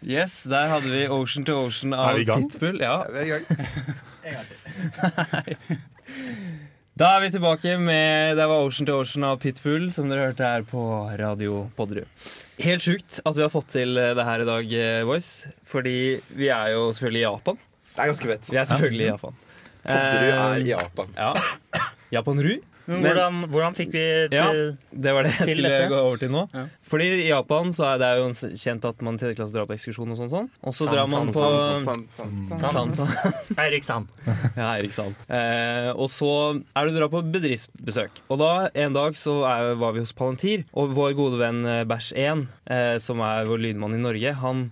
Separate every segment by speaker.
Speaker 1: Yes, der hadde vi Ocean to Ocean
Speaker 2: Er
Speaker 1: av
Speaker 2: vi i gang?
Speaker 1: Pitbull. Ja.
Speaker 3: Vi er i gang.
Speaker 1: Da er vi tilbake med Det var Ocean to Ocean av Pitbull, som dere hørte her på Radio Podderud. Helt sjukt at vi har fått til det her i dag, eh, boys. Fordi vi er jo selvfølgelig i Japan.
Speaker 3: Det er ganske vett.
Speaker 1: Vi er selvfølgelig i Japan.
Speaker 3: Podderud er
Speaker 1: Eh,
Speaker 3: i Japan.
Speaker 1: Ja. Japanru?
Speaker 4: Men hvordan, hvordan fikk vi til
Speaker 1: Ja, det var det jeg
Speaker 4: Til
Speaker 1: skulle
Speaker 4: dette?
Speaker 1: gå over til nå.
Speaker 4: Ja.
Speaker 1: Fordi i Japan så er det jo en s- kjent at man i tredje klasse drar på ekskursjon og sånn. sånn. Og så
Speaker 4: San-
Speaker 1: drar man
Speaker 4: san-
Speaker 1: på
Speaker 3: Sånn, sånn,
Speaker 1: San,
Speaker 3: sånn.
Speaker 1: san.
Speaker 4: Eirik Sand?
Speaker 1: Ja, Erik Sand. Eh, og så er det å dra på bedriftsbesøk. Og da, en dag så er, var vi hos Palantir, og vår gode venn eh, Bæsj1, eh, som er vår lydmann i Norge, han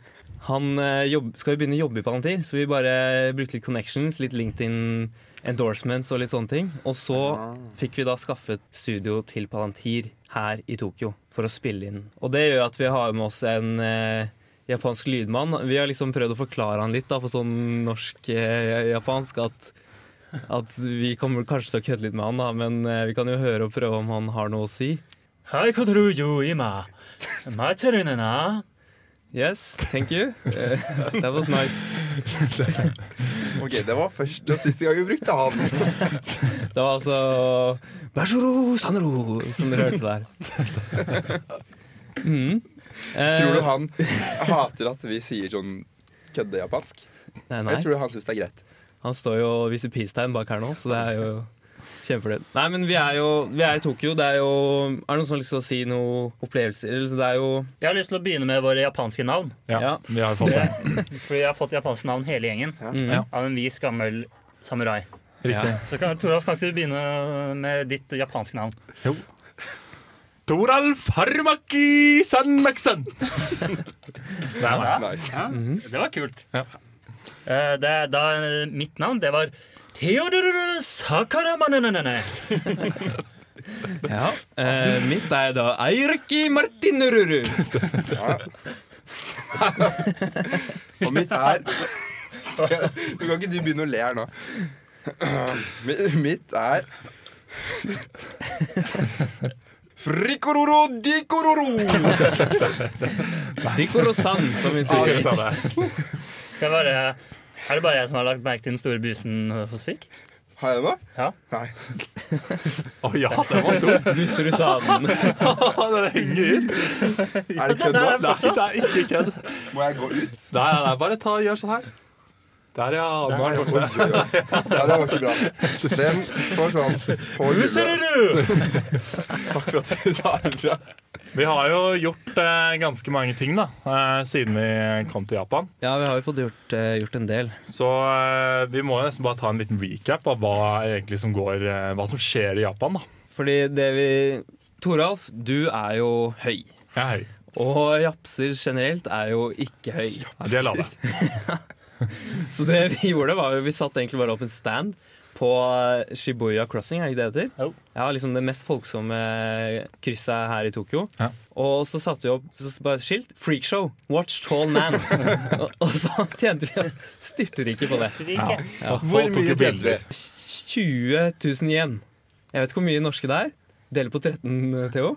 Speaker 1: han eh, jobb, skal jo begynne å jobbe i Palantir, så vi bare brukte litt connections, litt LinkedIn endorsements og litt sånne ting. Og så fikk vi da skaffet studio til Palantir her i Tokyo for å spille inn. Og det gjør at vi har med oss en eh, japansk lydmann. Vi har liksom prøvd å forklare han litt da, på sånn norsk-japansk at at vi kommer kanskje til å kødde litt med han, da, men eh, vi kan jo høre og prøve om han har noe å si.
Speaker 4: Hei, hva tror du, Ima? Matcherunene?
Speaker 1: Yes, thank you. Eh, That was nice.
Speaker 3: Ok, Det var første og siste gang vi brukte han.
Speaker 1: Det var altså Bæsjoro Sanro som dere hørte der. Mm. Eh,
Speaker 3: Tror du han hater at vi sier sånn kødde-japansk?
Speaker 1: Nei,
Speaker 3: Jeg
Speaker 1: nei.
Speaker 3: tror han syns det er greit.
Speaker 1: Han står jo og viser peace-tegn bak her nå, så det er jo kjempefornøyd. Nei, men vi er jo vi er i Tokyo. Det er jo Er det noen som har lyst til å si noe opplevelser? Eller, Det er jo
Speaker 4: Jeg har lyst til å begynne med våre japanske navn.
Speaker 2: Ja,
Speaker 1: Ja.
Speaker 2: vi har fått det.
Speaker 4: For vi har fått japanske navn hele gjengen.
Speaker 1: mm.
Speaker 2: Ja.
Speaker 4: Av en vis gammel samurai.
Speaker 2: Riktig.
Speaker 4: Så kan, Toralf, kan ikke du begynne med ditt japanske navn?
Speaker 2: Toralf Harmaki Sanmaksan.
Speaker 4: Ja,
Speaker 3: Nice.
Speaker 4: det var kult. Eh, det, da, mitt navn, det var Theodor Sakaramanenene.
Speaker 1: Ja. Eh, mitt er da Eiriki Martinururu.
Speaker 3: Ja. Og mitt er Nå kan ikke du begynne å le her nå. Mi- Mitt er Frikororo dikororo!
Speaker 1: Dikorosan, som vi sier.
Speaker 2: Skal vi ta det?
Speaker 4: Skal jeg bare- Er det bare jeg som har lagt merke til den store busen hos Fikk?
Speaker 3: Har jeg det nå?
Speaker 4: Ja.
Speaker 3: Nei.
Speaker 2: Å ja, det var så
Speaker 1: Busserusanen.
Speaker 2: Det henger ut.
Speaker 3: Er det kødd nå?
Speaker 2: Nei, det er ikke kødd.
Speaker 3: Må jeg gå ut?
Speaker 2: Nei, nei, nei, bare ta, gjør sånn her. Der, ja. Nå
Speaker 3: Oi,
Speaker 2: er det
Speaker 3: oi, oi. Ja, det var ikke bra. Den får sånn på gulvet.
Speaker 4: Busserud!
Speaker 2: Takk for at du sa det bra. Vi har jo gjort eh, ganske mange ting da, eh, siden vi kom til Japan.
Speaker 1: Ja, vi har jo fått gjort, eh, gjort en del.
Speaker 2: Så eh, vi må jo nesten bare ta en liten recap av hva, egentlig som går, eh, hva som skjer i Japan. da.
Speaker 1: Fordi det vi Toralf, du er jo høy.
Speaker 2: Jeg er høy.
Speaker 1: Og japser generelt er jo ikke høy.
Speaker 2: Nei, De er lave.
Speaker 1: Så det vi gjorde, var jo vi satte egentlig bare opp en stand på eh, Shibuya Crossing, er det ikke det det heter?
Speaker 4: Jo.
Speaker 1: Ja, liksom det mest folksomme krysset her i Tokyo.
Speaker 2: Ja.
Speaker 1: Og så satte vi opp så bare et skilt. Freakshow! Watch tall man! og, og så tjente vi oss styrtrike på det.
Speaker 4: Rike.
Speaker 1: Ja.
Speaker 3: Hvor mye tjente vi?
Speaker 1: 20 000 yen. Jeg vet ikke hvor mye norske det er. Dele på 13, Theo.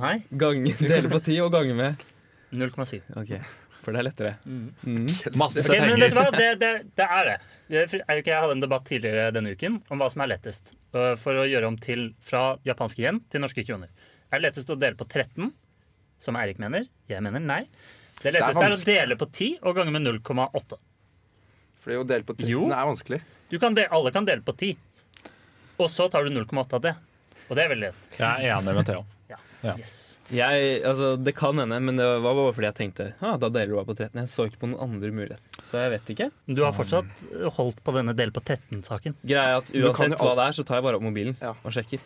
Speaker 4: Nei,
Speaker 1: Gange, dele på 10 og gange med
Speaker 4: 0,7.
Speaker 1: Ok, for det er lettere.
Speaker 2: Masse
Speaker 4: Ok, men
Speaker 2: penger.
Speaker 4: vet du hva? Det, det, det er det. Jeg- for- Eirik og jeg hadde en debatt tidligere denne uken om hva som er lettest øh, for å gjøre om til fra japanske yen til norske kroner. Er det lettest å dele på 13, som Eirik mener? Jeg mener nei. Det letteste er, å
Speaker 3: vanskelig.
Speaker 4: dele på 10 og gange med 0,8.
Speaker 3: Fordi å dele på 13
Speaker 4: Jo.
Speaker 3: er vanskelig.
Speaker 4: Du kan de- Alle kan dele på 10, og så tar du 0,8 av det. Og det er veldig lett.
Speaker 2: Jeg er enig med Theo. Ja.
Speaker 4: Yes.
Speaker 1: Jeg, altså, det kan hende, men det var bare fordi jeg tenkte ah, da deler du bare på 13. Jeg så ikke på noen andre muligheter. Så jeg vet ikke.
Speaker 4: Du har fortsatt eh, holdt på denne del på 13-saken.
Speaker 1: Greia er at
Speaker 3: du kan
Speaker 1: uansett
Speaker 3: jo
Speaker 1: hva det er, så tar jeg bare opp mobilen
Speaker 3: Ja.
Speaker 1: og sjekker.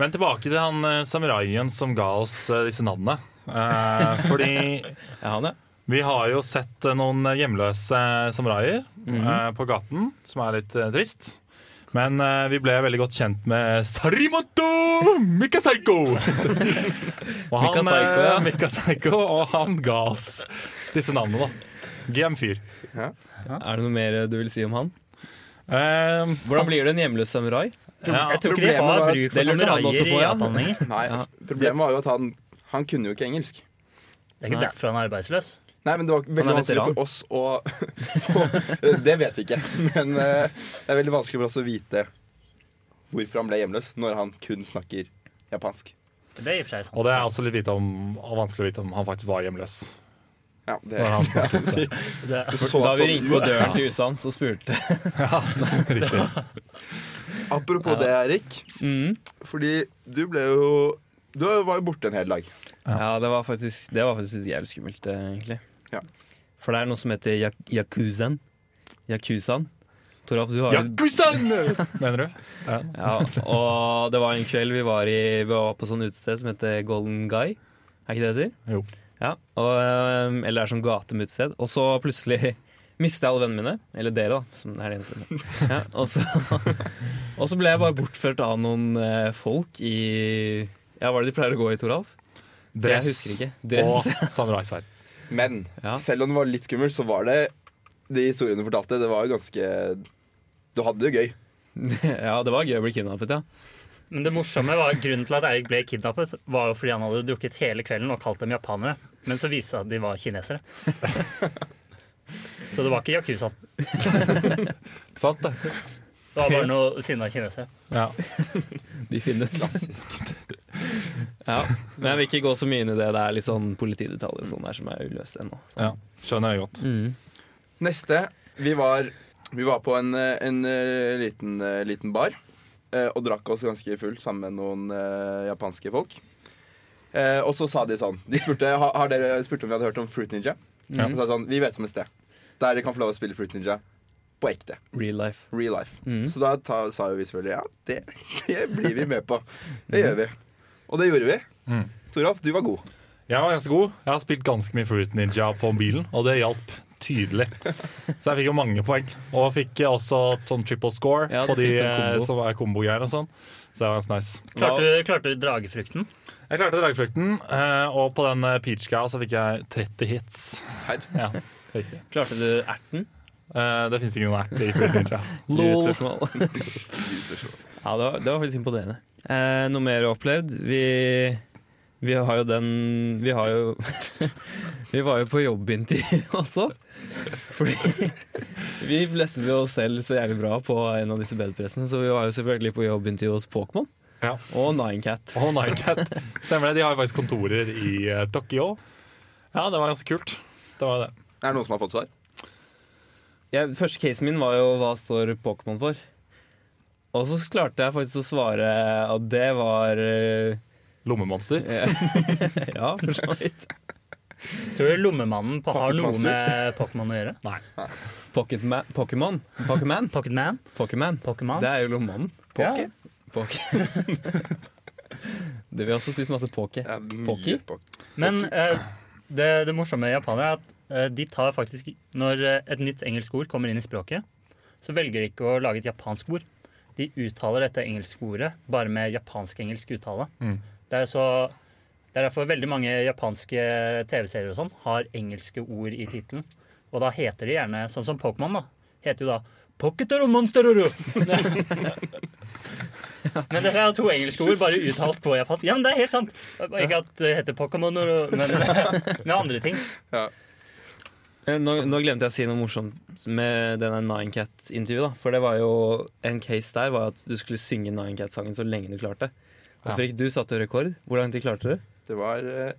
Speaker 2: Men tilbake til han eh, samuraien som ga oss eh, disse navnene. Eh, fordi
Speaker 1: Jeg har den,
Speaker 2: vi har jo sett eh, noen hjemløse samuraier
Speaker 1: Mhm.
Speaker 2: eh, på gaten, som er litt eh, trist. Men eh, vi ble veldig godt kjent med Sarimoto Mikasaiko! og han,
Speaker 1: Mikasaiko,
Speaker 2: eh,
Speaker 1: ja.
Speaker 2: Mikasaiko, og han ga oss disse navnene, da. GM-fyr.
Speaker 1: ja. Er det noe mer du vil si om han?
Speaker 2: Eh,
Speaker 1: Hvordan blir du en hjemløs samurai?
Speaker 2: ja,
Speaker 4: Jeg tror ikke de
Speaker 3: problemet var
Speaker 4: har
Speaker 3: at-
Speaker 1: det
Speaker 4: bruk for
Speaker 1: lurer han også
Speaker 4: samuraier
Speaker 1: på,
Speaker 4: i
Speaker 1: ja.
Speaker 4: Japan lenger.
Speaker 3: Nei,
Speaker 1: Ja.
Speaker 3: Problemet var jo at han, han kunne jo ikke engelsk.
Speaker 4: Det er ikke
Speaker 1: Nei.
Speaker 4: derfor han er arbeidsløs.
Speaker 3: Nei, men det var veldig
Speaker 1: er
Speaker 3: vanskelig
Speaker 1: veteran.
Speaker 3: for oss å få- Det vet vi ikke. Men eh, det er veldig vanskelig for oss å vite hvorfor han ble hjemløs når han kun snakker japansk.
Speaker 4: Det er i og for seg sant.
Speaker 2: og det er også litt vite om, og vanskelig å vite om han faktisk var hjemløs.
Speaker 3: Ja, det,
Speaker 2: Når han snakket
Speaker 3: det si.
Speaker 4: Det-
Speaker 3: Det så
Speaker 1: da vi
Speaker 3: sånn
Speaker 1: ringte på
Speaker 3: ut.
Speaker 1: døren til huset hans og spurte.
Speaker 2: Riktig.
Speaker 3: Apropos det, Erik.
Speaker 1: Mm.
Speaker 3: Fordi du ble jo Du var jo borte en hel dag.
Speaker 1: Ja, det var faktisk, det var faktisk jævlig skummelt, eh, egentlig.
Speaker 3: Ja.
Speaker 1: For det er noe som heter yak yakuzaen. Yakuzaen. Toralf, du har jo
Speaker 2: Yakuza-en! Mener du? Ja.
Speaker 1: ja, Og det var en kveld vi var, i, vi var på sånn utested som heter Golden Guy. Er ikke det det heter?
Speaker 2: Jo.
Speaker 1: Ja, og, eh, eller det er sånn gatemutsted. Og så plutselig mistet jeg alle vennene mine. Eller dere, da. Som er det eneste. Ja, og, så, og så ble jeg bare bortført av noen eh, folk i Ja, hva er det de pleier å gå i, Toralf? Jeg husker ikke. Dress.
Speaker 2: og samuraisverd.
Speaker 3: Men
Speaker 1: Ja.
Speaker 3: selv om det var litt skummelt, så var det de historiene du fortalte, det var jo ganske Du hadde det jo gøy.
Speaker 1: Ja, det var gøy å bli kidnappet, ja.
Speaker 4: Men det morsomme var grunnen til at Eirik ble kidnappet, var jo fordi han hadde drukket hele kvelden og kalt dem japanere. Men så viste det seg at de var kinesere. Så det var ikke yakuzaen.
Speaker 2: Sant, det.
Speaker 4: Det var bare noe sinna kinesere.
Speaker 2: Ja.
Speaker 1: De finnes. Ja. Men jeg vil ikke gå så mye inn i det. Det er litt sånn politidetaljer og sånn der som er uløst ennå.
Speaker 2: ja. Skjønner jeg godt.
Speaker 1: Mm.
Speaker 3: Neste. Vi var, vi var på en, eh, en eh, liten, eh, liten bar eh, og drakk oss ganske full sammen med noen eh, japanske folk. Eh, og så sa de sånn De spurte, ha, har dere spurte om vi hadde hørt om Fruit Ninja.
Speaker 1: Ja.
Speaker 3: Og så sa de sånn, Vi vet om et sted der dere kan få lov å spille Fruit Ninja på ekte.
Speaker 1: Real life.
Speaker 3: Real life.
Speaker 1: Mm.
Speaker 3: Så da ta, sa jo vi selvfølgelig ja, det, det blir vi med på. Det gjør vi. Og det gjorde vi.
Speaker 2: Mm.
Speaker 3: Toralf, du var god.
Speaker 2: Jeg var ganske god. Jeg har spilt ganske mye Fruit Ninja på mobilen, og det hjalp tydelig. Så jeg fikk jo mange poeng. Og fikk også sånn triple score
Speaker 1: Ja, det
Speaker 2: på de
Speaker 1: finnes en
Speaker 2: eh,
Speaker 1: kombo.
Speaker 2: som er kombogreier og sånn. Så det var ganske nice.
Speaker 4: Klarte, du- klarte du dragefrukten?
Speaker 2: Jeg klarte dragfrukten, eh, og på den eh, peach guy så fikk jeg 30 hits.
Speaker 3: Serr.
Speaker 2: Ja, riktig.
Speaker 1: Klarte du erten?
Speaker 2: Eh, det fins ikke noen ert i Fruit Ninja. Lol.
Speaker 1: Lurespørsmål. Ja, det var, det var faktisk imponerende. Eh, noe mer opplevd? Vi, vi har jo den Vi har jo Vi var jo på jobbintervju også. Fordi vi blestet jo oss selv så jævlig bra på en av disse bedpressene, så vi var jo selvfølgelig på jobbintervju hos Pokémon
Speaker 2: Ja.
Speaker 1: og Ninecat.
Speaker 2: Og Nicat. Stemmer det. De har jo faktisk kontorer i eh, Tokyo. Ja, det var ganske kult. Det var det.
Speaker 3: Er det noen som har fått svar?
Speaker 1: Ja, første casen min var jo hva står Pokémon for? Og så klarte jeg faktisk å svare at det var eh,
Speaker 2: Lommemonster.
Speaker 1: Ja, for så vidt.
Speaker 4: Tror du lommemannen på, har noe
Speaker 3: Pocket-monster?
Speaker 4: med Pokémon å gjøre?
Speaker 2: Nei.
Speaker 1: Pocketma- Pokémon. Pokémon.
Speaker 4: Pocketman?
Speaker 1: Pokémon.
Speaker 4: Pokémon?
Speaker 1: Det er jo lommemannen.
Speaker 4: Poké?
Speaker 1: Poke. det, vi har også spist masse poke.
Speaker 3: Ja, mye
Speaker 1: Pocky?
Speaker 3: pocky.
Speaker 4: Men eh, det, det morsomme med japanere er at eh, de tar faktisk Når eh, et nytt engelsk ord kommer inn i språket, så velger de ikke å lage et japansk ord. De uttaler dette engelske ordet bare med japansk-engelsk uttale.
Speaker 2: Mm.
Speaker 4: Det er så det er derfor veldig mange japanske TV-serier og sånn har engelske ord i tittelen. Og da heter de gjerne sånn som Pokémon, da. Heter jo da Pocketero Monsteroro. Men dette er jo to engelske ord, bare uttalt på japansk. Ja, men det er helt sant! Ikke at det heter Pokémon, og- men med andre ting.
Speaker 1: Eh, Nå, nå glemte jeg å si noe morsomt med denne Ninecat-intervjuet. da. For det var jo en case der var at du skulle synge Ninecat-sangen så lenge du klarte. Og
Speaker 2: Ja.
Speaker 1: Fredrik, du satte jo rekord. Hvor lang tid klarte du?
Speaker 3: Det var eh,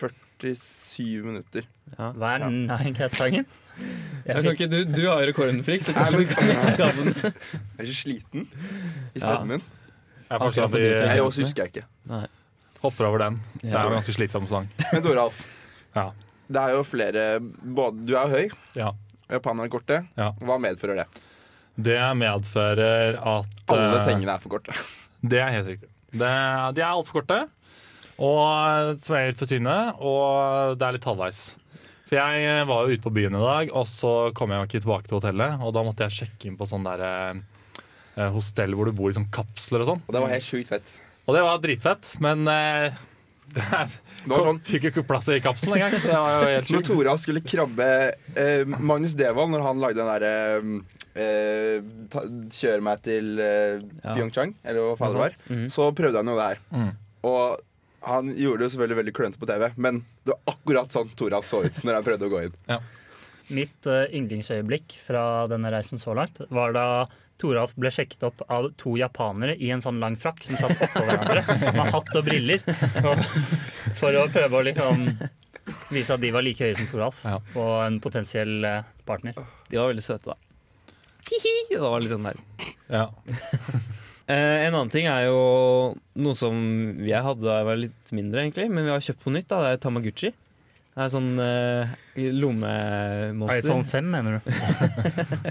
Speaker 3: 47 minutter.
Speaker 4: Hva er Nine Cat-sangen?
Speaker 1: Jeg
Speaker 4: Jeg
Speaker 1: kan
Speaker 4: fikk
Speaker 1: ikke, du, du har jo rekorden, Fredrik, så
Speaker 3: Nei,
Speaker 1: kanskje
Speaker 3: men-
Speaker 1: vi kan skape den.
Speaker 3: Jeg er så sliten i
Speaker 1: Ja.
Speaker 3: stemmen.
Speaker 2: Jeg forstår at
Speaker 3: Nei,
Speaker 2: vi
Speaker 3: også husker jeg ikke.
Speaker 2: hopper over den. Det er
Speaker 1: Ja.
Speaker 2: jo en ganske slitsom sang.
Speaker 3: Men Toralf,
Speaker 2: Ja.
Speaker 3: det er jo flere både, Du er jo høy,
Speaker 2: ja.
Speaker 3: japanerne er korte.
Speaker 2: Ja.
Speaker 3: Hva medfører det?
Speaker 2: Det medfører at
Speaker 3: Alle
Speaker 2: eh,
Speaker 3: sengene er for korte.
Speaker 2: Det er helt riktig. Det, de er altfor korte, og som regel for tynne, og det er litt halvveis. For jeg eh, var jo ute på byen i dag, og så kom jeg jo ikke tilbake til hotellet. Og da måtte jeg sjekke inn på sånn der eh, hostell hvor du bor i sånn kapsler og sånn.
Speaker 3: Og det var helt sjukt fett.
Speaker 2: Og det var dritfett, men eh, det er,
Speaker 3: Det var sånn
Speaker 2: fikk jo ikke plass i kapselen engang. Det var jo helt
Speaker 3: Når
Speaker 2: sjukt.
Speaker 3: Tora skulle krabbe eh, Magnus Devold, når han lagde den derre eh, ta, kjøre meg til eh,
Speaker 1: Ja.
Speaker 3: Pyeongchang, eller hva faen det var,
Speaker 1: Mhm.
Speaker 3: så prøvde han jo det her.
Speaker 2: Mm.
Speaker 3: Og han gjorde det jo selvfølgelig veldig klønete på TV, men det var akkurat sånn Toralf så ut når han prøvde å gå inn.
Speaker 4: Mitt eh, yndlingsøyeblikk fra denne reisen så langt var da Toralf ble sjekket opp av to japanere i en sånn lang frakk som satt oppå hverandre med hatt og briller. Og, for å prøve å liksom vise at de var like høye som Toralf
Speaker 2: Ja.
Speaker 4: og en potensiell eh, partner.
Speaker 1: De var veldig søte, da. Hihi! Det var litt sånn der.
Speaker 2: Ja.
Speaker 1: Eh, en annen ting er jo noe som jeg hadde da jeg var litt mindre, egentlig, men vi har kjøpt på nytt. da, Det er Tamaguchi. Det er sånn eh, lommemonster.
Speaker 4: iPhone 5, mener du?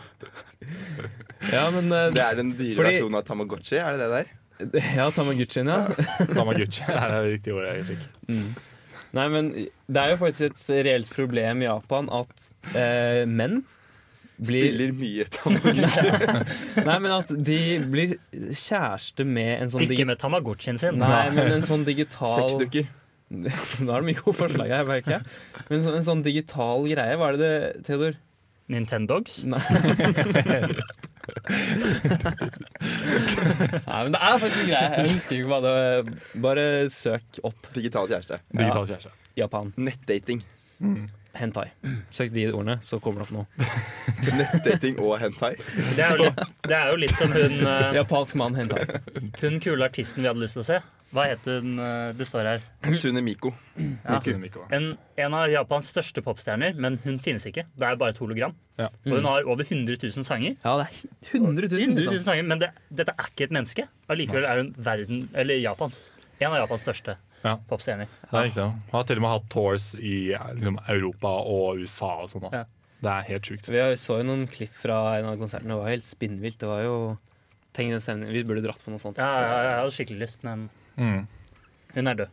Speaker 1: Ja, men eh,
Speaker 3: Det er den dyre
Speaker 1: Fordi-
Speaker 3: versjonen av Tamagotchi, er det det der?
Speaker 1: Ja, Tamaguchien, ja.
Speaker 2: Tamaguchi er det riktige ordet. jeg fikk.
Speaker 1: Mm. Nei, men det er jo faktisk et reelt problem i Japan at eh, menn blir
Speaker 3: Spiller mye Tamagotchi.
Speaker 1: Nei, men at de blir kjæreste med en sånn
Speaker 4: Ikke
Speaker 1: digi-
Speaker 4: med Tamagotchien sin.
Speaker 1: Nei, men en sånn digital
Speaker 3: Sexdukker.
Speaker 1: Nå er det mye gode forslag her, merker jeg. Men så, en sånn digital greie, hva er det det, Theodor?
Speaker 4: Nintendogs.
Speaker 1: Nei. Nei, men det er faktisk en greie. Jeg husker ikke hva det Bare søk opp
Speaker 3: Digital kjæreste.
Speaker 2: Digital kjæreste.
Speaker 1: Japan.
Speaker 3: Nettdating.
Speaker 1: Hentai. Søk de ordene, så kommer det opp noe.
Speaker 3: Nettdating og hentai.
Speaker 4: Det er jo litt, det er jo litt som hun, eh,
Speaker 1: Japansk mann hentai.
Speaker 4: hun kule artisten vi hadde lyst til å se. Hva het hun? eh, Det står her.
Speaker 3: Tsunemiko.
Speaker 4: Ja.
Speaker 2: Tsunemiko.
Speaker 4: En, en av Japans største popstjerner, men hun finnes ikke. Det er bare et hologram.
Speaker 2: Ja.
Speaker 4: Og hun har over 100 000 sanger.
Speaker 1: Ja, det er 100 000.
Speaker 4: 100 000
Speaker 1: Liksom.
Speaker 4: sanger men det, dette er ikke et menneske. Allikevel er hun verden, eller Japans. En av Japans største
Speaker 2: Ja.
Speaker 4: popstjerner.
Speaker 2: Det er riktig. ja. Han har til og med hatt tours i eh, liksom, Europa og USA og sånn. da.
Speaker 4: Ja.
Speaker 2: Det er helt sjukt.
Speaker 1: Vi har- så jo noen klipp fra en av konsertene. Det var helt spinnvilt. Det var jo Tenk den stemningen. Vi burde dratt på noe sånt.
Speaker 4: Ja, ja, ja, jeg hadde skikkelig lyst, men
Speaker 2: Mm.
Speaker 4: hun er død.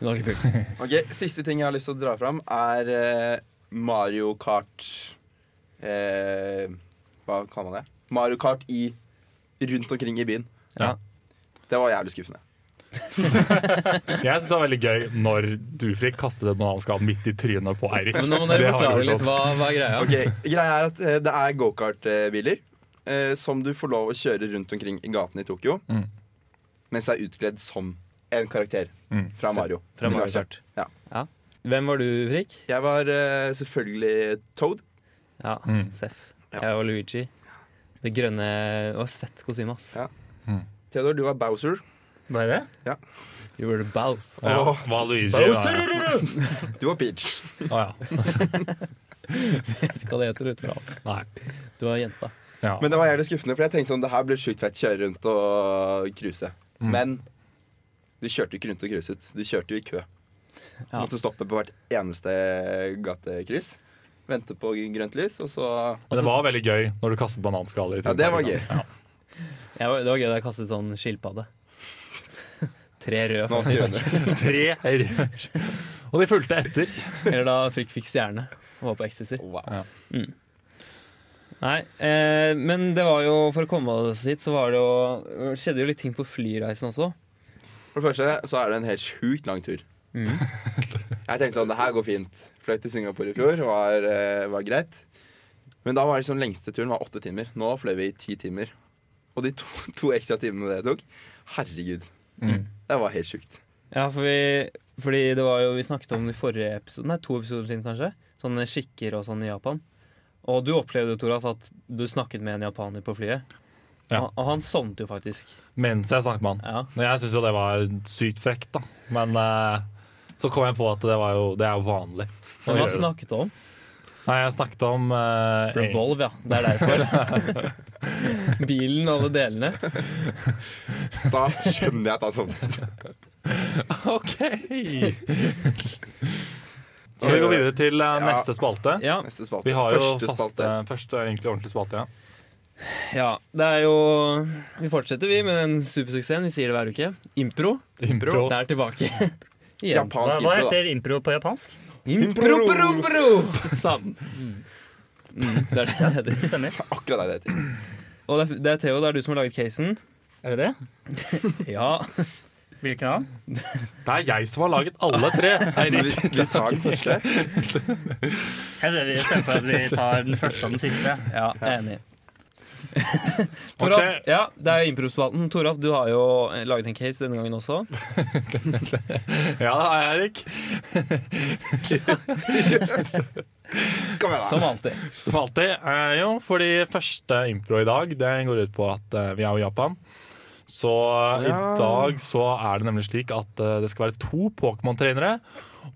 Speaker 1: Hun har ikke puls.
Speaker 3: Ok, Siste ting jeg har lyst til å dra fram, er eh, Mario Kart eh, Hva kaller man det? Mario Kart i, rundt omkring i byen.
Speaker 1: Ja.
Speaker 3: Det var jævlig skuffende.
Speaker 2: Jeg syns det var veldig gøy når du, Frik, kastet et bananskall midt i trynet på Eirik.
Speaker 1: Men nå må
Speaker 2: Det
Speaker 1: dere
Speaker 2: har
Speaker 1: forklare
Speaker 2: jeg
Speaker 1: litt.
Speaker 2: forstått.
Speaker 1: Hva, hva er greia?
Speaker 3: Ok, Greia er at eh, det er gokartbiler eh, som du får lov å kjøre rundt omkring i gatene i Tokyo
Speaker 2: Mm.
Speaker 3: mens du er utkledd som en karakter
Speaker 2: Mm.
Speaker 3: fra Mario.
Speaker 1: Fra Mario
Speaker 3: universet.
Speaker 1: Kart.
Speaker 3: Ja.
Speaker 1: Hvem var du, Frik?
Speaker 3: Jeg var eh, selvfølgelig Toad.
Speaker 1: Ja,
Speaker 2: Mm.
Speaker 1: Seff.
Speaker 3: Ja.
Speaker 1: Jeg var Luigi. Det grønne Det var svett kostyme, ass.
Speaker 3: Ja. Theodor, du var Bowser.
Speaker 4: Var jeg det?
Speaker 1: You were the bows.
Speaker 2: Ja,
Speaker 3: Åh.
Speaker 2: Valuigi, da,
Speaker 4: Bowser!
Speaker 3: Du var Peach.
Speaker 2: ja. Å, ja.
Speaker 1: Vet ikke hva det heter ut fra alt.
Speaker 2: Nei.
Speaker 1: Du var jenta.
Speaker 2: Ja.
Speaker 3: Men det var jævlig skuffende, for jeg tenkte sånn, det her blir sjukt fett kjøre rundt og cruise.
Speaker 2: Mm.
Speaker 3: Men du kjørte jo ikke rundt og cruiset. Du kjørte jo i kø. Du
Speaker 1: Ja.
Speaker 3: Måtte stoppe på hvert eneste gatekryss. Vente på grønt lys, og så
Speaker 2: Men det var veldig gøy når du kastet bananskall i
Speaker 3: altså- Ja,
Speaker 2: trynet.
Speaker 3: det
Speaker 2: på
Speaker 3: var
Speaker 2: Eirik,
Speaker 3: gøy.
Speaker 2: da. Ja.
Speaker 1: Jeg var, det var gøy da jeg kastet sånn skilpadde. Tre røde,
Speaker 3: Nå
Speaker 1: faktisk.
Speaker 3: skal jeg
Speaker 2: Tre herrer. Og de fulgte etter.
Speaker 1: Eller da Frikk fikk stjerne og var på ecstasy.
Speaker 3: wow.
Speaker 1: Nei, eh, men det var jo For å komme oss hit, så var det jo skjedde jo litt ting på flyreisen også.
Speaker 3: For det første så er det en helt sjukt lang tur.
Speaker 1: Mhm.
Speaker 3: Jeg tenkte sånn, det her går fint. Fløy til Singapore i fjor, var, eh, var greit. Men da var liksom lengste turen var åtte timer. Nå fløy vi i ti timer. Og de to, to ekstra timene det tok, herregud.
Speaker 2: Mhm.
Speaker 3: Det var helt sjukt.
Speaker 1: Ja, for vi, fordi det var jo Vi snakket om det i forrige episode, nei, to episoder siden, kanskje. Sånne skikker og sånn i Japan. Og du opplevde jo, Toralf, at du snakket med en japaner på flyet.
Speaker 2: Ja.
Speaker 1: Og, og han sovnet jo faktisk.
Speaker 2: Mens jeg snakket med han.
Speaker 1: Ja.
Speaker 2: Men jeg syns jo det var sykt frekt, da. Men eh, så kom jeg på at det, var jo, det er jo vanlig. å
Speaker 1: Men hva
Speaker 2: gjøre det.
Speaker 1: snakket du om?
Speaker 2: Nei, jeg snakket om eh,
Speaker 1: Revolve, ja. Det er derfor. Bilen og alle delene.
Speaker 3: Da skjønner jeg at han sovnet.
Speaker 2: OK! Skal vi gå videre til eh,
Speaker 3: Ja.
Speaker 2: neste spalte?
Speaker 1: Ja,
Speaker 3: Neste spalte.
Speaker 2: Vi har jo
Speaker 3: Første
Speaker 2: faste,
Speaker 3: spalte.
Speaker 2: første egentlig ordentlig spalte, ja.
Speaker 1: ja, det er jo Vi fortsetter, vi, med den supersuksessen. Vi sier det hver uke. Impro.
Speaker 2: Impro.
Speaker 1: Det er tilbake. Igjen.
Speaker 4: Hva,
Speaker 3: Japansk
Speaker 4: hva
Speaker 3: impro, da.
Speaker 4: heter impro på japansk?
Speaker 1: Impro, pro, pro! Sa den. Mm, det er det det heter.
Speaker 4: Stemmer.
Speaker 3: Akkurat det det heter.
Speaker 1: Og det er, det er Theo, det er du som har laget casen.
Speaker 4: Er det det?
Speaker 1: Ja.
Speaker 4: Hvilken annen?
Speaker 2: Det er jeg som har laget alle tre.
Speaker 3: Men
Speaker 2: Eirik.
Speaker 3: vi, vi tar den første.
Speaker 4: Jeg ser vi stemmer for at vi tar den første og den siste.
Speaker 1: Ja, enig. Toralf,
Speaker 2: Ok.
Speaker 1: ja, det er jo improspalten. Toralf, du har jo eh, laget en case denne gangen også.
Speaker 2: Ja, Eirik.
Speaker 3: Kom igjen, da.
Speaker 1: Som alltid.
Speaker 2: Som alltid. Eh, jo, fordi første impro i dag det går ut på at eh, vi er jo i Japan. Så eh,
Speaker 3: Ja.
Speaker 2: i dag så er det nemlig slik at eh, det skal være to Pokémon-trenere.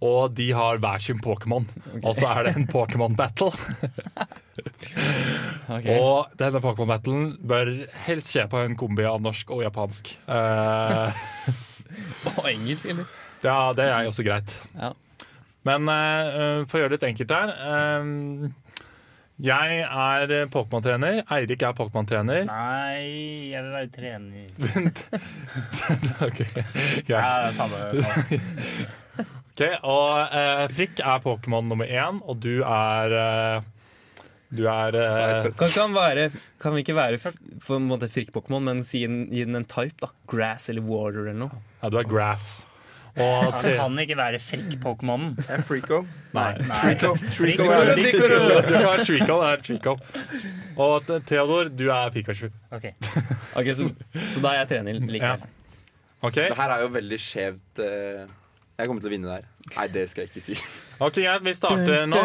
Speaker 2: Og de har hver sin Pokémon. Og så er det en Pokémon-battle. Og denne Pokémon-battlen bør helst skje på en kombi av norsk og japansk. Eh,
Speaker 1: På engelsk, eller?
Speaker 2: ja, det er jo også greit.
Speaker 1: Ja.
Speaker 2: Men eh, for å gjøre det litt enkelt her eh, Jeg er Pokémon-trener. Eirik er Pokémon-trener.
Speaker 4: Nei, jeg vil være trener.
Speaker 2: Ok,
Speaker 4: Ja,
Speaker 2: greit.
Speaker 4: det er samme, samme.
Speaker 2: Ok, og eh, Frikk er Pokémon nummer én, og du er eh, Du er eh,
Speaker 1: Kan, kan, være, kan vi ikke være f- for en måte frikk-pokémon, men si en, gi den en type? da Grass eller water eller noe.
Speaker 2: Ja, du er Grass. Og
Speaker 4: Han
Speaker 2: tre,
Speaker 4: kan ikke være frikk-pokémonen.
Speaker 3: Jeg er Freako.
Speaker 2: nei.
Speaker 3: Freako. Freako
Speaker 4: Freako
Speaker 3: er
Speaker 4: er
Speaker 3: det.
Speaker 2: Du er Treacle, det er Treacle. Og Theodor, du er Pikachu.
Speaker 4: Ok,
Speaker 1: Ok, Så, så da er jeg trener likevel.
Speaker 2: Ok,
Speaker 3: Det her er jo veldig skjevt. eh, Jeg kommer til å vinne der. Nei, det skal jeg ikke si.
Speaker 2: ok, greit, vi starter nå.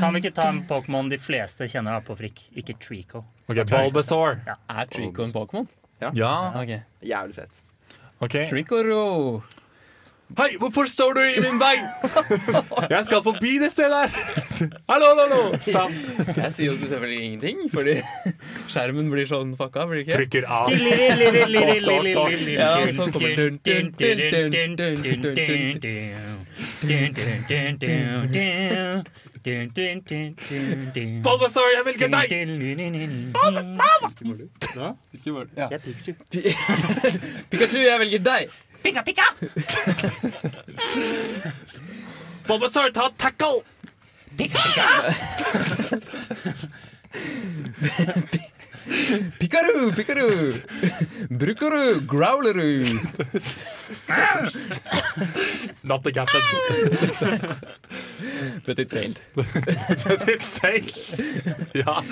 Speaker 4: Kan vi ikke ta en Pokémon de fleste kjenner da på frikk? Ikke Trico.
Speaker 2: Ok, Bulbasaur.
Speaker 1: Er Trico en Pokémon?
Speaker 2: Ja,
Speaker 1: Ok.
Speaker 3: Jævlig fett.
Speaker 2: ok.
Speaker 1: Tricoro.
Speaker 2: Hei, hvorfor står du i min vei? Jeg skal forbi det stedet her. Hallo, hallo, hallo. Sam
Speaker 1: Jeg sier jo selvfølgelig ingenting, fordi skjermen blir sånn fucka. blir det ikke?
Speaker 2: trykker av.
Speaker 1: Ja, sånn kommer dun, dun, dun, dun, dun, dun, dun, dun.
Speaker 2: Bulbasaur, jeg velger deg.
Speaker 4: Jeg er Pikachu.
Speaker 1: Pikachu, jeg velger deg!
Speaker 4: Pika, pika!
Speaker 2: Bulbasaur, ta tackle!
Speaker 4: Pika, pika!
Speaker 1: Pikaru, Pikaru! Brukaru, Growleru.
Speaker 2: Not the captain.
Speaker 1: But it failed.
Speaker 2: Det er feil. Ja.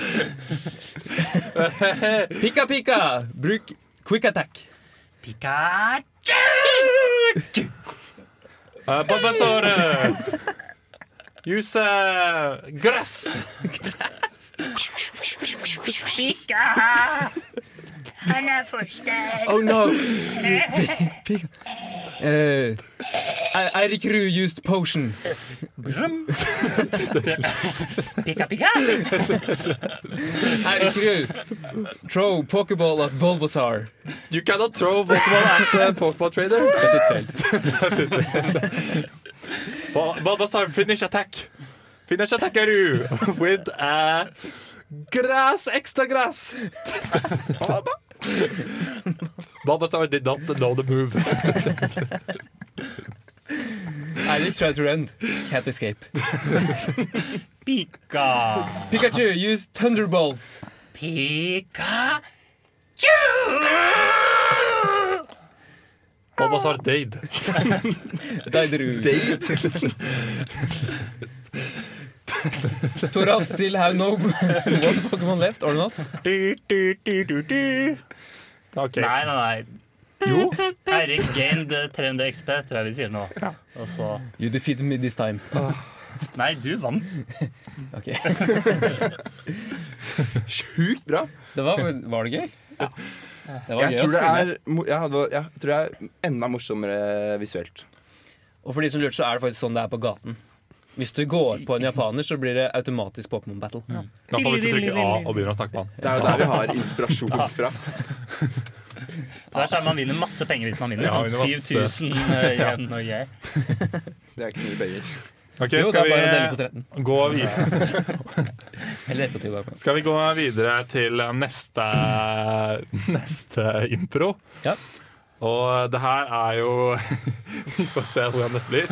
Speaker 1: Pika, pika! Bruk quick attack.
Speaker 4: Pikachu!
Speaker 2: Uh, Bulbasaur, uh, use uh, grass.
Speaker 4: Pika! Han er for sterk.
Speaker 1: Oh no! Pi- Pika. Eh, E- Eirik Ruud used potion.
Speaker 4: Pika, pika!
Speaker 1: Eirik Ruud, throw pokeball at Bulbasaur.
Speaker 2: You cannot throw Pokemon at uh, Pokemon trader.
Speaker 1: But it failed.
Speaker 2: Bul- Bulbasaur, finish attack. Finish attack, Eru, with uh, grass, extra grass. Bulbasaur did not know the move.
Speaker 1: Eirik tried to run. Can't escape.
Speaker 4: Pika!
Speaker 1: Pikachu used thunderbolt.
Speaker 4: Pika!
Speaker 2: Bulbasaur died.
Speaker 1: Deideru. Toralf still have no one Pokemon left, or not?
Speaker 2: Du, du, du, du, du. Ok.
Speaker 4: Nei, nei, nei.
Speaker 2: Jo.
Speaker 4: Eirik gained 300 XP, tror jeg vi sier nå. Og så
Speaker 1: You defeated me this time.
Speaker 4: Nei, du vant.
Speaker 1: Ok.
Speaker 3: Sjukt bra.
Speaker 1: Det var, var det gøy? Det var gøy
Speaker 3: Jeg
Speaker 1: å
Speaker 3: tror det
Speaker 1: spille.
Speaker 3: er, mo- ja, det var- jeg tror det er enda morsommere visuelt.
Speaker 1: Og for de som lurte, så er det faktisk sånn det er på gaten. Hvis du går på en japaner, så blir det automatisk Pokémon battle.
Speaker 2: I hvert fall hvis du trykker A og begynner å snakke med han.
Speaker 3: Det er jo der vi har inspirasjon fra.
Speaker 4: Det verste er at Man vinner masse penger hvis man vinner.
Speaker 2: Ja,
Speaker 4: Sånn
Speaker 2: vinner masse.
Speaker 4: 7000 igjen og jeg.
Speaker 3: Det er ikke så mye penger.
Speaker 2: Ok,
Speaker 1: Jo, det
Speaker 2: skal
Speaker 1: er bare å dele på
Speaker 2: vi
Speaker 1: 13.
Speaker 2: gå videre,
Speaker 1: Eller 11 på 10, bare.
Speaker 2: skal vi gå videre til neste, neste impro?
Speaker 1: Ja.
Speaker 2: Og det her er jo Vi får se hvordan det blir.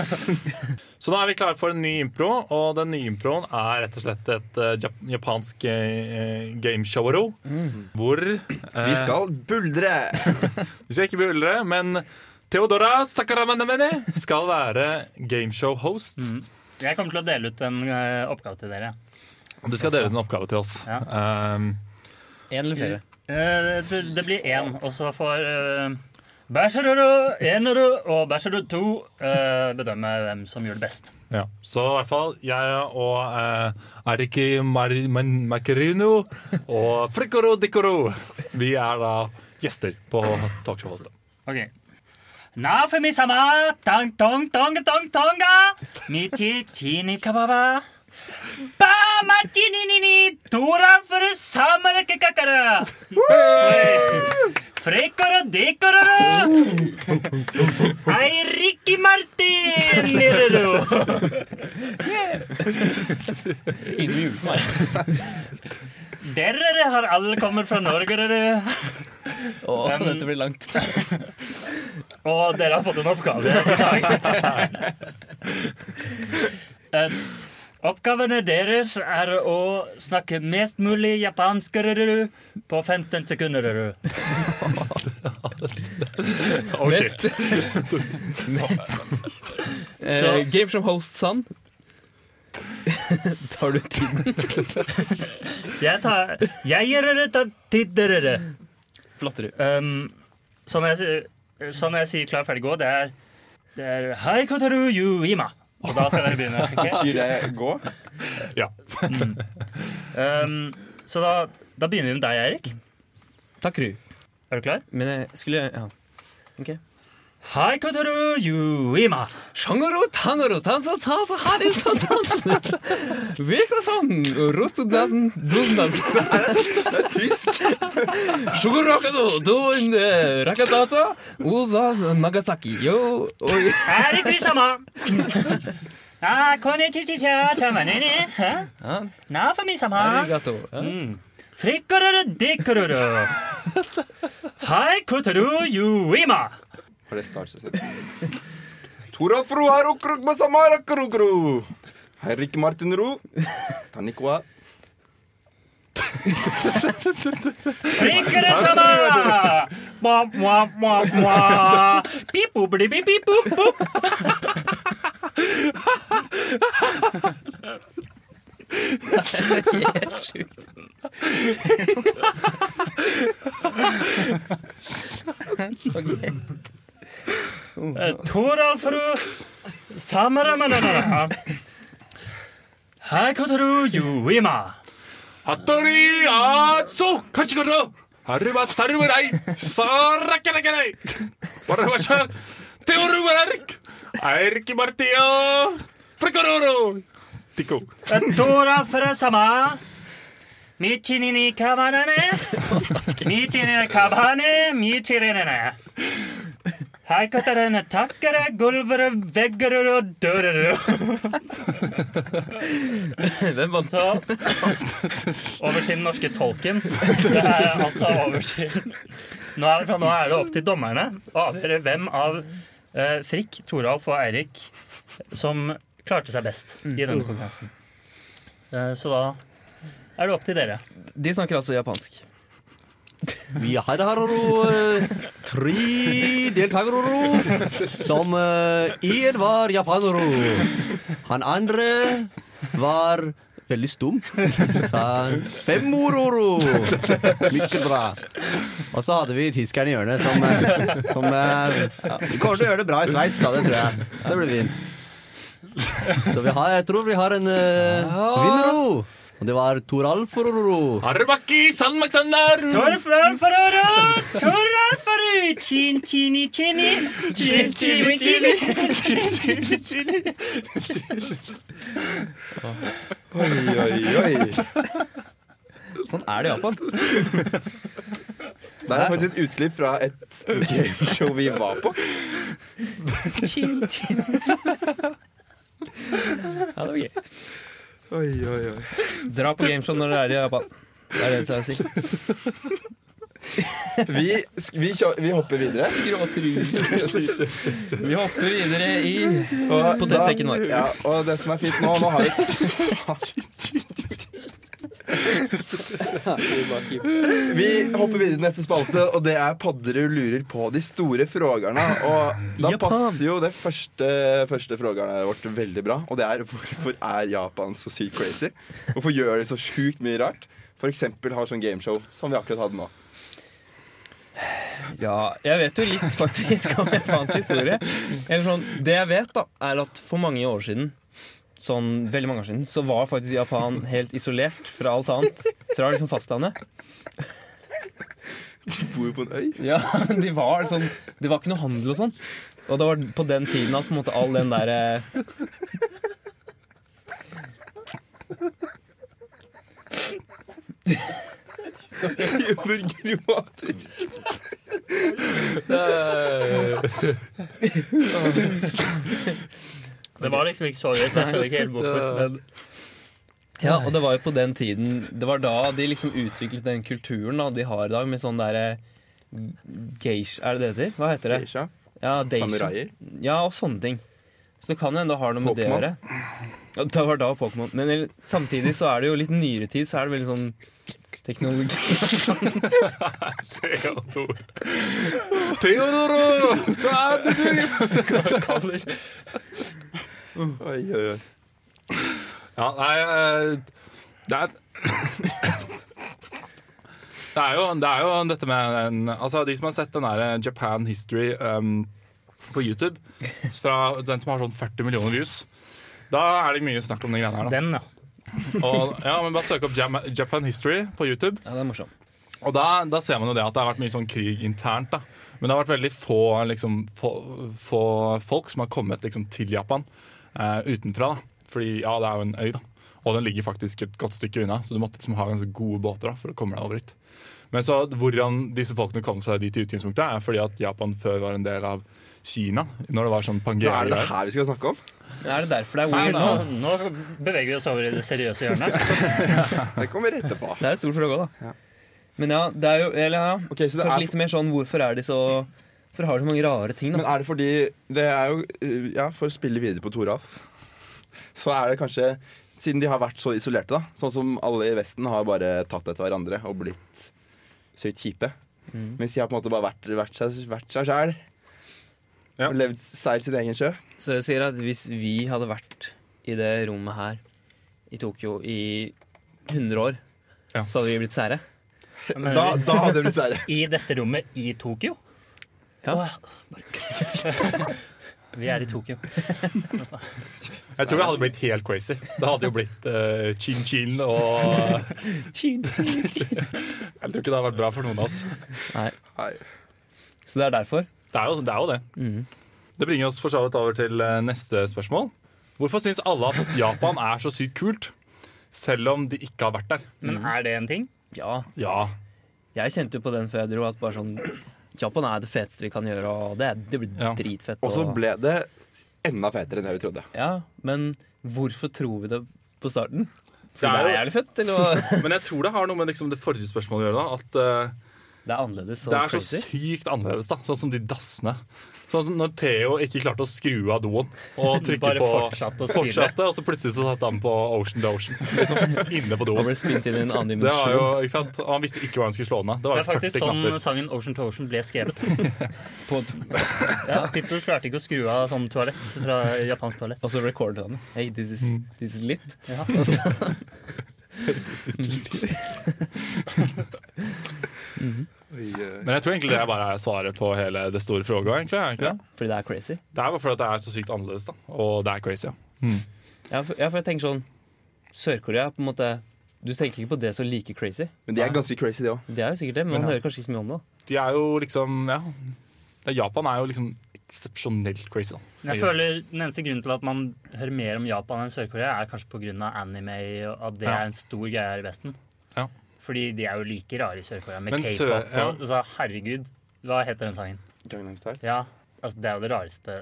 Speaker 2: Så da er vi klare for en ny impro, og den nye improen er rett og slett et eh, jap- japansk eh, gameshow-ro. Hvor eh,
Speaker 3: Mhm. Vi skal buldre!
Speaker 2: Vi skal ikke beundre, men Theodora Sakaramanamene skal være gameshow-host.
Speaker 3: Mm.
Speaker 4: Jeg kommer til å dele ut en eh, oppgave til dere.
Speaker 2: Du skal dele ut en oppgave til oss. Um,
Speaker 1: Én eller flere?
Speaker 4: Eh, det, det blir én, og så får uh, Bæsjerøro, Enerø og Bæsjerø 2 eh, bedømme hvem som gjør det best.
Speaker 2: Ja, Så i hvert fall jeg og eh, Ariki Mari- Man- Makarino og Frikoro Dikoro Vi er da gjester på talkshowet.
Speaker 4: Ok. Na for mi sama, tang tong tong tong tonga, mi ti tini kababa. Ba ma tini ni ni, tora for samere kakakara. Frekara dekarara. Ei Ricky Martin, nirero.
Speaker 1: Ingen som jubler for meg.
Speaker 4: Derere har alle kommet fra Norge, dere.
Speaker 1: Å, dette blir langt.
Speaker 4: Og dere har fått en oppgave i dag. Eh, Oppgavene deres er å snakke mest mulig japansk rururu, på 15 sekunder. rururu.
Speaker 2: Oh, shit.
Speaker 1: Best. eh, game som host, Sand. Tar du tiden?
Speaker 4: Jeg, tar, jeg gir dere ta tid, dere.
Speaker 1: Flatterud.
Speaker 4: Um, sånn, jeg, sier- sånn jeg sier klar, ferdig, gå, det er, det er Hei, Kotaru Yuima. Og da skal dere begynne. ok?
Speaker 3: Betyr det gå?
Speaker 2: Ja.
Speaker 4: Um, så da, da begynner vi med deg, Erik.
Speaker 1: Takk, Ru.
Speaker 4: Er du klar?
Speaker 1: Men jeg skulle Ja. Ok.
Speaker 4: Hei, Kotaru Yuima.
Speaker 1: Shangaro, tangaro, tanza, taza, harin, tan, tan. Veksa san, rotu, dasen, dundas.
Speaker 3: Det er tysk!
Speaker 1: Shogorakado, doen, eh, rakadata, oza, Nagasaki, yo, oi.
Speaker 4: Erik Lysama. Ah, konnichiwa, chamanene. Hæ?
Speaker 1: Ja,
Speaker 4: Na for meg sama.
Speaker 1: arigato. Ja.
Speaker 4: Mm. Frikkororo dikkororo. Hei, Kotaru Yuima.
Speaker 3: Har det snart sett Tora fru har okruk masamara krukru. Herrik Martin Ro. Tanikwa.
Speaker 4: Frikkere sama! Mwa, mwa, mwa, mwa. Pip, boop, bli, bip, pip, boop, boop.
Speaker 1: Helt sjukt. Ok.
Speaker 4: Eh, Toralfru Samaramanana. Hei, Kotaru Yuima.
Speaker 2: Hattori atso kachikoro! Haruba sarurai! Sarakarakai! Warabasha! Teoruvarik! Erki Martio! Frikororo! Tikko.
Speaker 4: Dora fra sama. Michinini kabanane. Michinini kabane. Michirinene. Haikotaren takkere, gulvere, veggere og dørere.
Speaker 1: Hvem vant?
Speaker 4: Så over til den norske tolken. Det er altså over til Nå er, fra nå er det opp til dommerne å avgjøre hvem av eh, Frikk, Toralf og Eirik som klarte seg best i denne
Speaker 1: Mm.
Speaker 4: konkurransen. Eh, så da er det opp til dere.
Speaker 1: De snakker altså japansk.
Speaker 5: Vi her har jo eh, tre deltakere som eh, en var japaner. Han andre var veldig stum. Så Sa han fem ord. oro. Mycket bra. Og så hadde vi tyskeren i hjørnet, som, eh, som eh, kommer til å gjøre det bra i Sveits, da. Det tror jeg. Det blir fint. Så vi har, jeg tror vi har en uh, vinner. Og det var Toralf Rororo.
Speaker 2: Harubaki sanmaksandaru!
Speaker 4: Torframfaroro, torralfaru, chin chini chini, chin chini chini, chin chini chini.
Speaker 3: Oi, oi, oi.
Speaker 1: Sånn er det i Japan.
Speaker 3: Der er faktisk et utklipp fra et gameshow vi var på.
Speaker 1: Ja, det var gøy.
Speaker 3: Oi, oi, oi.
Speaker 1: Dra på gameshow når dere er i Japan. Det er det jeg skal si.
Speaker 3: Vi, vi, kjø- vi hopper videre.
Speaker 1: Vi hopper videre i
Speaker 3: Og
Speaker 1: Potetsekken
Speaker 3: da-
Speaker 1: vår.
Speaker 3: Ja, og det som er fint nå Nå har vi Vi hopper videre til neste spalte, og det er Padderud lurer på de store frågerne. Og da
Speaker 1: Japan.
Speaker 3: passer jo det første, første frågerne vårt veldig bra, og det er hvorfor er Japan så sykt crazy? Hvorfor gjør de så sjukt mye rart? For eksempel har sånn gameshow som vi akkurat hadde nå.
Speaker 1: Ja, jeg vet jo litt faktisk om Japans historie. Eller sånn, det jeg vet, da, er at for mange år siden, sånn veldig mange år siden, så var faktisk Japan helt isolert fra alt annet. Fra liksom fastlandet.
Speaker 3: De bor jo på en øy.
Speaker 1: Ja, de var sånn, Det var ikke noe handel og sånn. Og det var på den tiden at på en måte all den eh, derre
Speaker 3: De gjør grimater.
Speaker 4: Det var liksom ikke så gøy, så jeg skjønner ikke helt hvorfor. Men
Speaker 1: Ja, og det var jo på den tiden Det var da de liksom utviklet den kulturen da, de har i dag, med sånn derre Geisha, er det det heter? Hva heter det?
Speaker 3: Geisha,
Speaker 1: Ja, deisha.
Speaker 3: Samuraier.
Speaker 1: Ja, og sånne ting. Så det kan jo enda ha noe med det å
Speaker 3: Pokémon.
Speaker 1: gjøre. Ja, Det var da Pokémon. Men el- samtidig så er det jo litt nyere tid, så er det veldig sånn teknologi
Speaker 2: Theodor. Theodoro!
Speaker 3: Oi, oi, oi.
Speaker 2: Ja, nei eh, Det er det er, jo, det er jo dette med den, altså De som har sett den der Japan History um, på YouTube, fra den som har sånn 40 millioner views Da er det mye snakk om de greiene her. Da.
Speaker 4: den, ja.
Speaker 2: Og, ja, men bare søk opp Jam- Japan History på YouTube.
Speaker 1: Ja, det er morsomt.
Speaker 2: Og da, da ser man jo det at det har vært mye sånn krig internt. da Men det har vært veldig få, liksom, få, få folk som har kommet liksom, til Japan eh, utenfra. da Fordi ja, det er jo en øy, da og den ligger faktisk et godt stykke unna. Så du måtte liksom, ha ganske gode båter da for å komme deg over dit. Men så hvordan disse folkene kom seg dit i utgangspunktet, er fordi at Japan før var en del av Kina. Når det var sånn
Speaker 3: Da er det det
Speaker 2: Pangea-greier.
Speaker 3: her vi skal snakke om.
Speaker 1: Er det derfor det er
Speaker 4: Nei,
Speaker 1: weird
Speaker 4: nå,
Speaker 1: nå?
Speaker 4: nå beveger vi oss over i det seriøse hjørnet.
Speaker 3: Det kommer etterpå.
Speaker 1: Det er et stort spørsmål, da. Men ja, det er jo Eller ja,
Speaker 3: Ok, så det
Speaker 1: kanskje
Speaker 3: er-
Speaker 1: litt mer sånn hvorfor er de så Hvorfor har de så mange rare ting,
Speaker 3: Men
Speaker 1: da?
Speaker 3: er det fordi Det er jo eh, Ja, for å spille videre på Toralf, så er det kanskje Siden de har vært så isolerte, da, sånn som alle i Vesten har bare tatt etter hverandre og blitt sykt kjipe.
Speaker 1: Mm.
Speaker 3: Mens de har på en måte bare vært, vært seg vært seg sjæl.
Speaker 2: Ja.
Speaker 3: Og levd seilt sin egen sjø.
Speaker 1: Så jeg sier at hvis vi hadde vært i det rommet her i Tokyo i 100 år,
Speaker 2: Ja.
Speaker 1: så hadde vi blitt sære.
Speaker 4: Men
Speaker 3: Da, da hadde de blitt sære.
Speaker 4: I dette rommet i Tokyo.
Speaker 1: Ja.
Speaker 4: Åh, bare- Vi er i Tokyo.
Speaker 2: Jeg tror det hadde blitt helt crazy. Det hadde jo blitt eh, chin-chin og Jeg tror ikke det hadde vært bra for noen av oss.
Speaker 1: Nei.
Speaker 3: Nei.
Speaker 1: Så det er derfor.
Speaker 2: Det er jo det. Er jo det. Det bringer oss for så vidt over til eh, neste spørsmål. Hvorfor syns alle at Japan er så sykt kult, selv om de ikke har vært der?
Speaker 1: Mm.
Speaker 4: Men er det en ting?
Speaker 1: Ja.
Speaker 2: Ja,
Speaker 1: Jeg kjente jo på den før jeg dro at bare sånn Japan er det feteste vi kan gjøre, og det, er- det blir
Speaker 2: Ja.
Speaker 1: dritfett.
Speaker 3: Og så
Speaker 1: og-
Speaker 3: ble det enda fetere enn det vi trodde.
Speaker 1: Ja, men hvorfor tror vi det på starten?
Speaker 2: Det
Speaker 1: Fordi det
Speaker 2: er
Speaker 1: er,
Speaker 2: jo-
Speaker 1: jævlig fett, eller hva?
Speaker 2: Men jeg tror det har noe med liksom det forrige spørsmålet å gjøre. da, At eh,
Speaker 1: Det er annerledes og
Speaker 2: Det er så
Speaker 1: crazy.
Speaker 2: sykt annerledes, da. Sånn som de dassene. Sånn at når Theo ikke klarte å skru av doen og trykke
Speaker 4: Bare
Speaker 2: på
Speaker 4: fortsatte å spille.
Speaker 2: fortsatte, og så plutselig så satt han på Ocean to Ocean. Liksom inne på
Speaker 1: Og
Speaker 2: doen.
Speaker 1: ble spint inn i en annen
Speaker 2: Det var jo,
Speaker 1: dimensjon
Speaker 2: ikke sant? Og han visste ikke hvor han skulle slå den av. Det var
Speaker 4: Det er
Speaker 2: jo 40
Speaker 4: faktisk sånn
Speaker 2: knapper.
Speaker 4: sangen Ocean to Ocean ble skrevet.
Speaker 1: på
Speaker 4: Ja, Pitbull klarte ikke å skru av sånn toalett fra japansk toalett.
Speaker 1: Og så recordet han. Hey, this is, this is lit.
Speaker 2: Men jeg tror egentlig det bare er svaret på hele det store fråga, egentlig. Er det ikke det?
Speaker 1: Fordi det er crazy.
Speaker 2: Det er bare fordi at det er så sykt annerledes, da. Og det er crazy. Ja.
Speaker 1: Ja, for, ja, for jeg tenker sånn Sør-Korea, på en måte Du tenker ikke på det som like crazy.
Speaker 3: Men de er ganske crazy, de òg.
Speaker 1: Det er jo sikkert det, men man hører kanskje ikke så mye om det. da.
Speaker 2: De er jo liksom Ja. Det, Japan er jo liksom eksepsjonelt crazy, da.
Speaker 4: Men Jeg føler Den eneste grunnen til at man hører mer om Japan enn Sør-Korea, er kanskje pga. anime, og at det
Speaker 2: Ja.
Speaker 4: er en stor greie her i Vesten.
Speaker 2: Ja.
Speaker 4: Fordi de er jo like rare i Sør-Korea, med
Speaker 2: Men
Speaker 4: k-pop
Speaker 2: Sør- ja.
Speaker 4: og altså, Herregud, hva heter den sangen?
Speaker 3: Gangnam Style.
Speaker 4: Ja, altså Det er jo det rareste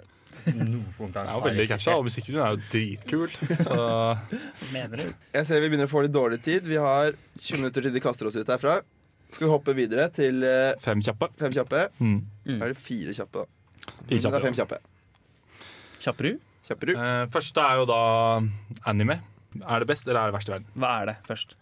Speaker 4: noen gang
Speaker 2: Det er jo
Speaker 4: har
Speaker 2: veldig
Speaker 4: eksistert.
Speaker 2: catcha, og musikken er jo dritkul. Så
Speaker 4: Mener du?
Speaker 3: Jeg ser vi begynner å få litt dårlig tid. Vi har 20 minutter til de kaster oss ut herfra. Skal vi hoppe videre til eh,
Speaker 2: fem kjappe.
Speaker 3: fem kjappe?
Speaker 2: Mm.
Speaker 3: Da er det fire kjappe,
Speaker 2: Fire
Speaker 3: da. Men det er
Speaker 2: kjappe.
Speaker 3: fem kjappe.
Speaker 1: Kjappru,
Speaker 3: Kjapper du?
Speaker 2: Eh, første er jo da anime. Er det best, eller er det verst i verden?
Speaker 1: hva er det først?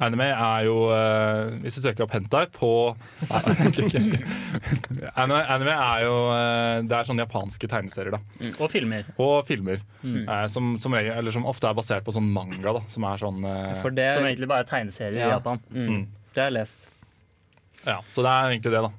Speaker 2: Anime er jo eh, Hvis du søker opp hentai på Nei, ok, ok, ok. anime, anime er jo eh, Det er sånne japanske tegneserier, da.
Speaker 4: Og filmer.
Speaker 2: Og filmer.
Speaker 4: Mm.
Speaker 2: eh, som, som, regel, eller som ofte er basert på sånn manga, da. Som er sånn eh,
Speaker 1: For det,
Speaker 4: Som egentlig bare er tegneserier
Speaker 1: Ja.
Speaker 4: i Japan.
Speaker 1: mm, det har jeg lest.
Speaker 2: Ja, så det er egentlig det, da.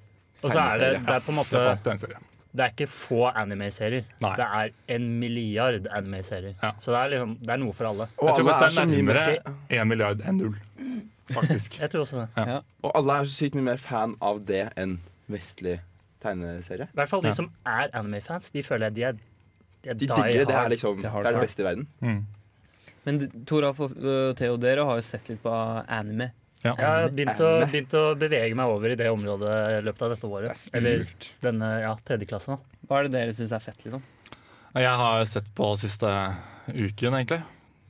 Speaker 4: Og så er det,
Speaker 3: Tegneserie.
Speaker 4: det er på en måte
Speaker 2: Japansk tegneserie.
Speaker 4: Det er ikke få anime-serier.
Speaker 2: Nei.
Speaker 4: Det er en milliard anime-serier.
Speaker 2: Ja.
Speaker 4: Så det er, liksom, det er noe for alle.
Speaker 3: Og
Speaker 2: Jeg tror
Speaker 3: alle er
Speaker 2: faktisk det
Speaker 3: så
Speaker 2: er
Speaker 3: mye mer
Speaker 2: nærmere én milliard enn null, faktisk.
Speaker 4: Jeg tror også det.
Speaker 3: Og alle er så sykt mye mer fan av det enn vestlig tegneserie.
Speaker 4: I hvert fall de
Speaker 2: Ja.
Speaker 4: som er anime-fans, de føler jeg de er De, er
Speaker 3: De
Speaker 4: die
Speaker 3: digger det. Det
Speaker 4: hard.
Speaker 3: er liksom
Speaker 1: Det
Speaker 3: Det
Speaker 1: er
Speaker 3: er det
Speaker 1: hardcore.
Speaker 3: beste i verden.
Speaker 2: Mm.
Speaker 1: Men Toralf og øh, Theo, dere har jo sett litt på anime.
Speaker 2: Ja.
Speaker 4: Jeg har begynt å, begynt å bevege meg over i det området i løpet av dette året.
Speaker 3: Det er
Speaker 4: Eller
Speaker 3: skummelt.
Speaker 4: denne ja, tredje klasse. nå.
Speaker 1: Hva er det dere syns er fett, liksom?
Speaker 2: Jeg har sett på siste uken, egentlig.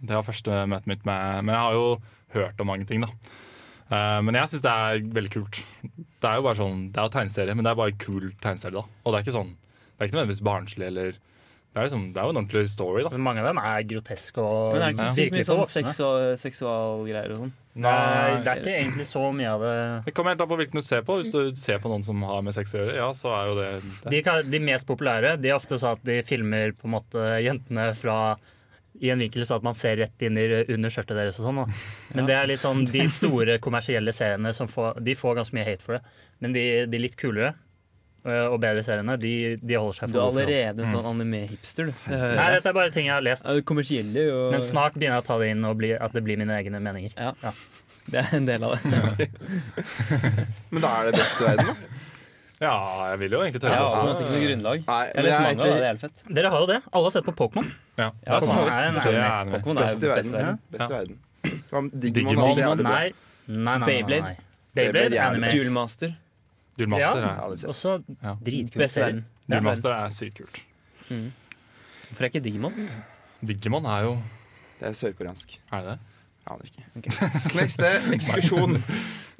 Speaker 2: Det var første møtet mitt med Men jeg har jo hørt om mange ting, da. Eh, Men jeg syns det er veldig kult. Det er jo bare sånn, det er jo tegneserie, men det er bare kul tegneserie, da. Og det er ikke sånn, det er ikke nødvendigvis barnslig eller Det er, liksom, det er jo en ordentlig story, da.
Speaker 4: Men Altså, mange av dem er groteske og
Speaker 1: Men er det ikke sykt mye
Speaker 4: virkelig for
Speaker 1: sånn
Speaker 4: voksne.
Speaker 1: seksual- seksualgreier og sånn?
Speaker 4: Nei, det er ikke egentlig så mye av det.
Speaker 2: Det kommer helt an på hvilken du ser på. Hvis du ser på noen som har med sex å gjøre, ja, så er jo det, det.
Speaker 4: De, kan, de mest populære de er ofte sånn at de filmer på en måte jentene fra i en vinkel sånn at man ser rett inn i, under skjørtet deres og sånn. da. Men det er litt sånn de store kommersielle seriene som får, de får ganske mye hate for det. Men de, de litt kulere øh, og bedre seriene, de, de holder seg
Speaker 1: Du er
Speaker 4: for gode for alt.
Speaker 1: allerede en sånn anime-hipster, du. Det hører
Speaker 4: Nei,
Speaker 1: jeg.
Speaker 4: dette er bare ting jeg har lest.
Speaker 1: Ja, det kommersielle og
Speaker 4: Men snart begynner jeg å ta det inn og bli, at det blir mine egne meninger.
Speaker 1: Ja.
Speaker 4: Ja.
Speaker 1: Det er en del av det.
Speaker 3: Men da er det beste i verden, da.
Speaker 2: Ja, jeg vil jo egentlig
Speaker 1: Jeg
Speaker 2: tørre
Speaker 1: har
Speaker 2: også.
Speaker 1: absolutt ikke noe grunnlag.
Speaker 3: Nei,
Speaker 1: Jeg
Speaker 3: men
Speaker 1: leser
Speaker 3: jeg
Speaker 1: manga,
Speaker 3: er
Speaker 1: da. Det
Speaker 3: egentlig
Speaker 1: er helt fett.
Speaker 4: Dere har jo det. Alle har sett på Pokémon.
Speaker 2: Ja,
Speaker 1: Ja, for
Speaker 2: sant.
Speaker 1: så
Speaker 4: vidt.
Speaker 2: Det er enig.
Speaker 1: Pokémon er
Speaker 3: best i
Speaker 1: jo best i
Speaker 3: verden.
Speaker 1: verden.
Speaker 3: Best i verden. Ja, men Digimon
Speaker 2: Digimon,
Speaker 3: er også jævlig bra.
Speaker 4: Nei. Nei, nei, nei, nei, nei.
Speaker 1: Beyblade.
Speaker 4: Beyblade,
Speaker 3: Beyblade, jævlig
Speaker 4: anime.
Speaker 3: kult.
Speaker 1: Duelmaster.
Speaker 2: Duelmaster
Speaker 3: Jeg
Speaker 2: er,
Speaker 3: har aldri sett.
Speaker 4: Også
Speaker 2: Ja.
Speaker 4: dritkul
Speaker 1: Best i
Speaker 4: serie.
Speaker 1: verden. Best i verden.
Speaker 2: Duelmaster er sykt kult.
Speaker 1: Hvorfor er ikke Digimon?
Speaker 2: Digimon er jo
Speaker 3: Det er sørkoreansk.
Speaker 2: Er det det?
Speaker 3: Aner ikke. Neste ekskursjon.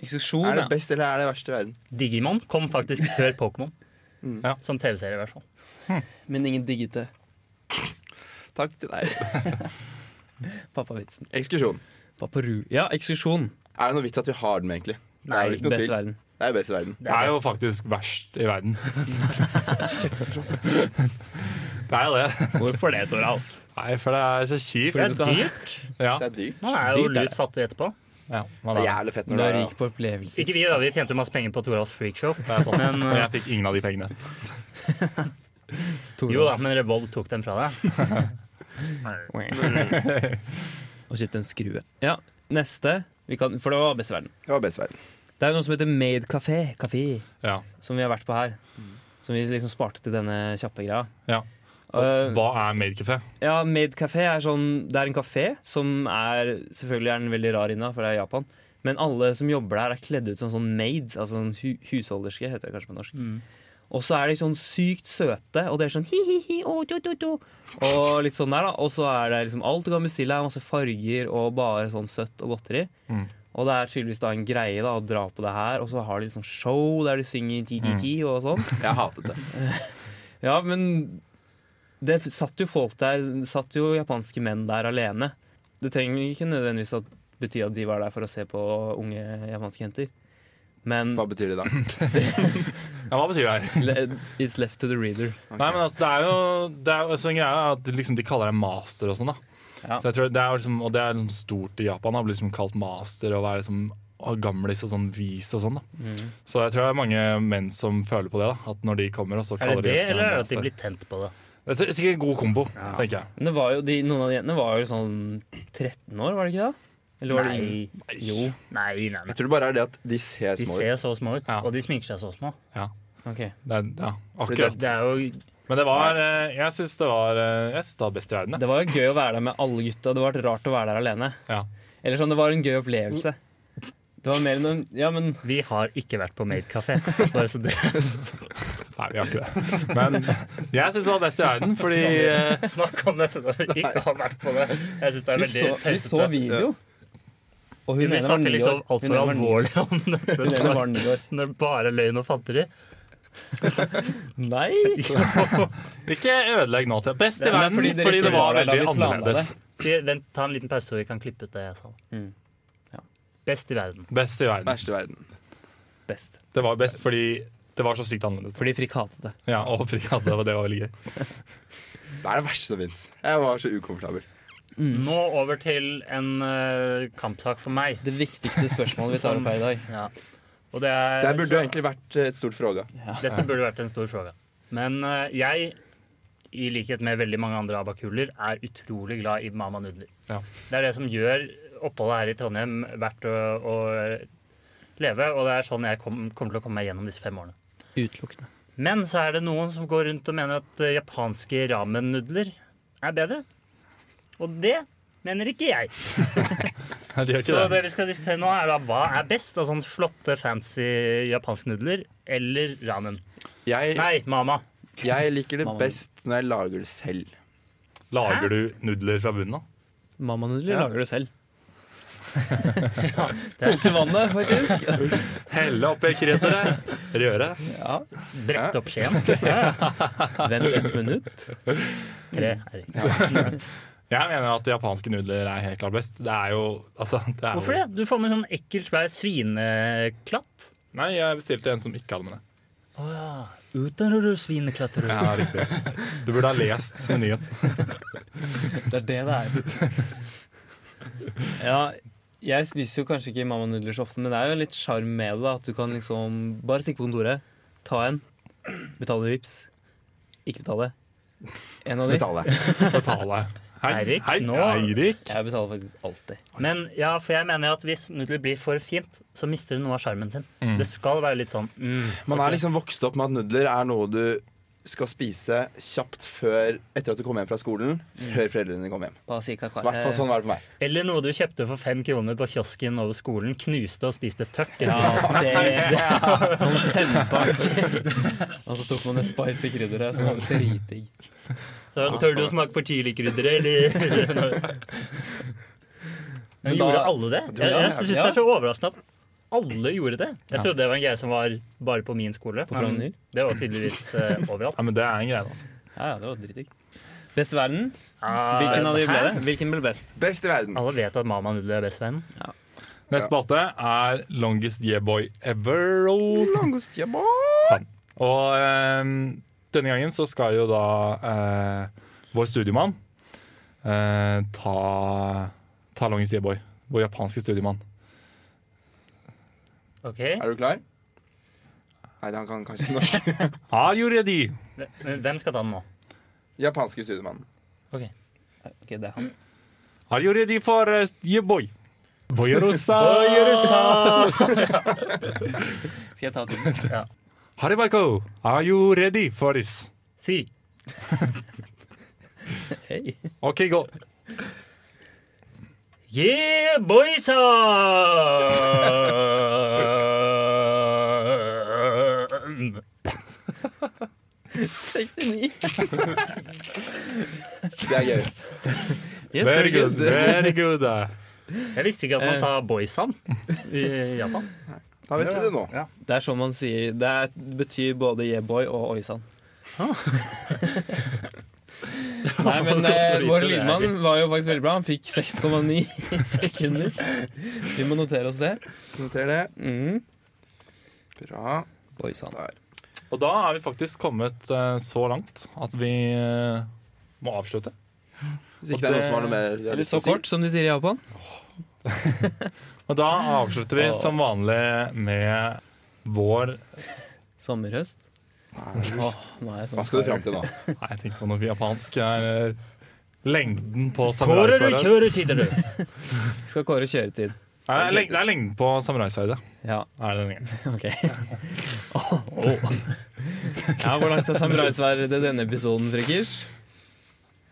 Speaker 1: Ekskursjon,
Speaker 3: Er det
Speaker 1: ja.
Speaker 3: best eller er det verst i verden?
Speaker 4: Digimon kom faktisk før Pokémon.
Speaker 3: Mm.
Speaker 2: Ja.
Speaker 4: Som TV-serie, i hvert fall.
Speaker 1: Men ingen diggete
Speaker 3: Takk til deg.
Speaker 1: pappavitsen.
Speaker 3: Ekskursjon.
Speaker 1: Paparu. Ja, ekskursjon.
Speaker 3: Er det noe vits at vi har den, egentlig? Det
Speaker 4: Nei,
Speaker 3: er jo ikke noe
Speaker 1: Best i
Speaker 3: tvil.
Speaker 1: verden.
Speaker 3: Det er jo best i verden.
Speaker 2: Det er jo faktisk verst i verden. det er jo det.
Speaker 1: Hvorfor det, Toralf?
Speaker 2: Nei, for det er så kjipt.
Speaker 4: Det er dyrt.
Speaker 2: Ja,
Speaker 3: Det er dyrt.
Speaker 4: Man er
Speaker 1: Dyrt
Speaker 4: jo
Speaker 1: er det.
Speaker 4: lut fattig etterpå.
Speaker 2: ja, man
Speaker 3: Det er
Speaker 2: er.
Speaker 3: jævlig fett
Speaker 1: Du
Speaker 3: når det
Speaker 1: er
Speaker 3: er
Speaker 1: rik på opplevelser.
Speaker 4: Ikke vi, da. Vi tjente jo masse penger på Toralfs freakshow.
Speaker 2: det er sant.
Speaker 4: Men,
Speaker 2: Og jeg fikk ingen av de pengene.
Speaker 4: Jo da, men Revolve tok dem fra
Speaker 1: Mm.
Speaker 4: deg.
Speaker 1: Og kjøpte en skrue. Ja, neste. Vi kan, for det var best i verden.
Speaker 3: Det var best i verden.
Speaker 1: Det er jo noe som heter Made Café, Café
Speaker 2: Ja.
Speaker 1: som vi har vært på her. Som vi liksom sparte til denne kjappe greia.
Speaker 2: Ja.
Speaker 1: Eh,
Speaker 2: Hva er Maidcafé?
Speaker 1: Ja, Made Café er sånn Det er en kafé som er Selvfølgelig er den veldig rar inna, for det er Japan. Men alle som jobber der, er kledd ut som sånn maid, altså sånn hu husholderske, heter det kanskje på norsk. Og så er de sånn sykt søte, og det er sånn hi-hi-hi, å, to, to, to. Og litt sånn der, da. Og så er det liksom alt du kan bestille, er masse farger og bare sånn søtt og godteri.
Speaker 2: Mm.
Speaker 1: Og det er tydeligvis da en greie da å dra på det her, og så har de litt sånn show der de synger ti-ti-ti og sånn.
Speaker 3: Jeg hatet det.
Speaker 1: Ja, men det satt jo folk der, satt jo japanske menn der alene. Det trenger ikke nødvendigvis at bety at de var der for å se på unge japanske jenter. Men
Speaker 3: Hva betyr det da?
Speaker 2: Ja, hva betyr det her?
Speaker 1: le- it's left to the reader.
Speaker 2: Nei, men altså, det er jo, det er, jo- så en greie er at liksom, de kaller det master og sånn, da.
Speaker 1: Ja.
Speaker 2: Så jeg tror det er jo liksom, og det er liksom stort i Japan, da, å bli liksom kalt master og være liksom å, gamlis og sånn vis og sånn. da. Så jeg tror det er mange menn som føler på det. da, At når de kommer, og så
Speaker 4: Er
Speaker 2: kaller
Speaker 4: det det,
Speaker 2: de
Speaker 4: eller er det at
Speaker 1: altså.
Speaker 2: master.
Speaker 4: de blir tent på det?
Speaker 2: Det er sikkert en god kombo, tenker jeg.
Speaker 1: Men det var jo, de, noen av de jentene var jo sånn 13 år, var det ikke det? Eller var det
Speaker 4: Nei.
Speaker 1: Jo.
Speaker 4: Nei, nei,
Speaker 3: Jeg
Speaker 4: nei.
Speaker 3: tror det bare er det at de ser
Speaker 4: De
Speaker 3: små ut.
Speaker 4: ser så små ut,
Speaker 2: Ja.
Speaker 4: og de sminker seg så små.
Speaker 1: Ok.
Speaker 2: Det er, ja,
Speaker 3: det-
Speaker 2: akkurat.
Speaker 4: Det er jo
Speaker 2: Men det var eh, Jeg syns det var eh, Jeg synes det var best i verden. jeg.
Speaker 1: Det var jo gøy å være der med alle gutta. Det var rart å være der alene.
Speaker 2: Ja.
Speaker 1: Eller sånn, det var en gøy opplevelse. Det var mer enn en Ja, men
Speaker 4: Vi har ikke vært på Made Café. Bare så det
Speaker 2: Nei, vi har ikke det. Men jeg syns det var best i verden, fordi eh,
Speaker 4: Snakk om dette når vi ikke har vært på det. Jeg synes det er
Speaker 1: vi
Speaker 4: veldig
Speaker 1: så, vi så
Speaker 4: tøysete.
Speaker 1: video. Og hun
Speaker 4: Vi
Speaker 1: ene var
Speaker 4: snakker
Speaker 1: ni
Speaker 4: liksom
Speaker 1: år. Hun
Speaker 4: altfor
Speaker 1: ene var ni år.
Speaker 4: alvorlig om dette.
Speaker 1: Hun ene var ni år.
Speaker 4: Når det bare er løgn og fanteri.
Speaker 1: Nei!
Speaker 2: Ikke ødelegg nå til Best i
Speaker 1: Det er
Speaker 2: verden
Speaker 1: fordi
Speaker 2: fordi,
Speaker 1: dere ikke
Speaker 2: det var
Speaker 1: var der da
Speaker 2: veldig
Speaker 1: vi planla
Speaker 2: annerledes.
Speaker 4: Si, vent, ta en liten pause, så vi kan klippe ut det jeg sa. Best i verden.
Speaker 2: Best i verden.
Speaker 3: Verste i verden.
Speaker 1: Best.
Speaker 2: Det var best fordi det var så sykt annerledes.
Speaker 1: Fordi Frikk hatet det.
Speaker 2: Ja, og frikadde, og det var veldig gøy.
Speaker 3: Det er det verste som fins. Jeg var så ukomfortabel.
Speaker 4: Nå over til en eh, kampsak for meg.
Speaker 1: Det viktigste spørsmålet vi tar opp her i dag.
Speaker 4: Ja. Og det er,
Speaker 3: Det burde
Speaker 4: så-
Speaker 3: jo egentlig vært eh, et stort fråga.
Speaker 4: Dette burde vært en stor fråga. Men eh, jeg, i likhet med veldig mange andre abakuler, er utrolig glad i Mama Nudler.
Speaker 2: Ja.
Speaker 4: Det er det som gjør oppholdet her i Trondheim verdt å, å eh, leve, og det er sånn jeg kom, kommer til å komme meg gjennom disse fem årene.
Speaker 1: Utelukkende.
Speaker 4: Men så er det noen som går rundt og mener at eh, japanske ramen-nudler er bedre. Og det mener ikke jeg.
Speaker 2: De gjør
Speaker 4: Så
Speaker 2: ikke
Speaker 4: det
Speaker 2: det.
Speaker 4: vi skal diskutere nå, er da hva er best av sånne flotte, fancy japanske nudler eller ramen?
Speaker 3: Jeg,
Speaker 4: Nei, mama.
Speaker 3: jeg liker det
Speaker 1: Mamma.
Speaker 3: best når jeg lager det selv.
Speaker 2: Lager du nudler fra bunnen av?
Speaker 1: Mammanudler
Speaker 3: Ja.
Speaker 1: lager du selv.
Speaker 4: det er-
Speaker 1: Koke vannet, faktisk.
Speaker 2: Helle oppi kreteret, røre.
Speaker 1: Ja.
Speaker 4: Brekte opp skjeen. Ja, ja.
Speaker 1: Vent ett minutt.
Speaker 4: Tre her.
Speaker 2: Jeg mener at japanske nudler er helt klart best. Det er jo altså, det er
Speaker 4: Hvorfor
Speaker 2: jo,
Speaker 4: det? Du får med sånn ekkel, svær svineklatt.
Speaker 2: Nei, jeg bestilte en som ikke hadde med det.
Speaker 4: Å ja. Utenrød svineklatter.
Speaker 2: Ja, riktig. Du burde ha lest menyen.
Speaker 1: Det er det det er. Ja, jeg spiser jo kanskje ikke mammanudler så ofte, men det er jo litt sjarm med det. da, At du kan liksom bare stikke på kontoret, ta en, betale med vips, ikke betale. En av de.
Speaker 3: Betale.
Speaker 2: Betale. Hei,
Speaker 4: Eirik,
Speaker 2: hei,
Speaker 4: nå-
Speaker 2: Eirik.
Speaker 1: Jeg betaler faktisk alltid.
Speaker 4: Men ja, for jeg mener at hvis nudler blir for fint, så mister det noe av sjarmen sin.
Speaker 1: Mm.
Speaker 4: Det skal være litt sånn mm.
Speaker 3: Man er liksom vokst opp med at nudler er noe du skal spise kjapt før etter at du kommer hjem fra skolen. Før foreldrene dine kommer hjem.
Speaker 1: Bare si kakao.
Speaker 3: Så i hvert fall sånn var det for meg.
Speaker 4: Eller noe du kjøpte for fem kroner på kiosken over skolen, knuste og spiste tørt.
Speaker 1: Ja, det, det er sånn fempakk. Og så tok man det spicy krydderet, som var dritdigg.
Speaker 4: Så tør du å smake på chilikrydderet, eller? Men
Speaker 1: Men
Speaker 4: gjorde
Speaker 1: da-
Speaker 4: alle det?
Speaker 3: tror
Speaker 4: Jeg,
Speaker 3: det er
Speaker 4: jeg synes det
Speaker 1: jævlig.
Speaker 4: er så overraskende at alle gjorde det. Jeg trodde det var en greie som var bare på min skole.
Speaker 1: På Frogner?
Speaker 4: men Det var tydeligvis eh, overalt.
Speaker 2: Ja, men det er en greie, altså.
Speaker 1: Ja, ja, det var dritdigg. Best i verden?
Speaker 4: Ah,
Speaker 1: Hvilken av de ble
Speaker 4: hæ?
Speaker 1: det? Hvilken ble best?
Speaker 3: Best i verden.
Speaker 4: Alle vet at Mama Nudler er best venn.
Speaker 2: Neste spalte er Longest Yeah-boy ever. Og
Speaker 3: Langost, ja, boy.
Speaker 2: Sånn. Og ehm, denne gangen så skal jo da eh, vår studiemann eh, ta, ta Longest Yeboy. Vår japanske studiemann.
Speaker 4: Ok,
Speaker 3: Er du klar? Nei, han kan kanskje ikke norsk.
Speaker 2: Are you ready?
Speaker 4: Men Hvem skal ta den nå?
Speaker 3: Japanske studiemannen.
Speaker 4: Ok.
Speaker 1: Ok, det er han.
Speaker 2: Are you ready for uh, Yeboy?
Speaker 1: Ah! Skal jeg ta til?
Speaker 2: Haribaiko, are you ready for this?
Speaker 4: Si.
Speaker 1: Hei.
Speaker 2: OK, go.
Speaker 4: Yeah, ah! boysa!
Speaker 3: Det er gøy.
Speaker 1: Yes,
Speaker 2: Very good. Very good. uh.
Speaker 4: Jeg visste ikke at man
Speaker 1: Eh.
Speaker 4: sa boysan i Japan.
Speaker 3: Da vet vi det nå.
Speaker 4: Ja.
Speaker 1: Det er sånn man sier. Det er, betyr både yeah-boy og oisan. Nei, men
Speaker 4: godt å
Speaker 1: eh,
Speaker 4: vite,
Speaker 1: vår
Speaker 4: Ah. det er
Speaker 1: lydmann var jo faktisk veldig bra. Han fikk 6,9 sekunder. Vi må notere oss det.
Speaker 3: Noter det.
Speaker 1: Mm.
Speaker 3: Bra.
Speaker 1: Oisan.
Speaker 3: Der.
Speaker 2: Og da er vi faktisk kommet eh, så langt at vi eh, må avslutte.
Speaker 3: Hvis ikke det er noen som har noe mer de har
Speaker 1: Eller
Speaker 3: lyst
Speaker 1: så
Speaker 3: til å si.
Speaker 1: kort, som de sier i Japan.
Speaker 2: Og da avslutter vi som vanlig med vår
Speaker 1: Sommerhøst. Åh, nå er jeg sånn
Speaker 3: Hva skal du fram til nå?
Speaker 2: Nei, jeg tenkte på noe japansk. er eh, Lengden på
Speaker 4: Kårer du
Speaker 2: samuraisverdet.
Speaker 4: kjører tider, du?
Speaker 1: Skal kåre kjøretid.
Speaker 2: Nei, det er leng- Det er lengden på samuraisverdet.
Speaker 1: Ja,
Speaker 2: Er det denne gangen.
Speaker 1: ok. Åh, åh. Ja, hvor langt er samuraisverdet denne episoden, Frikkers?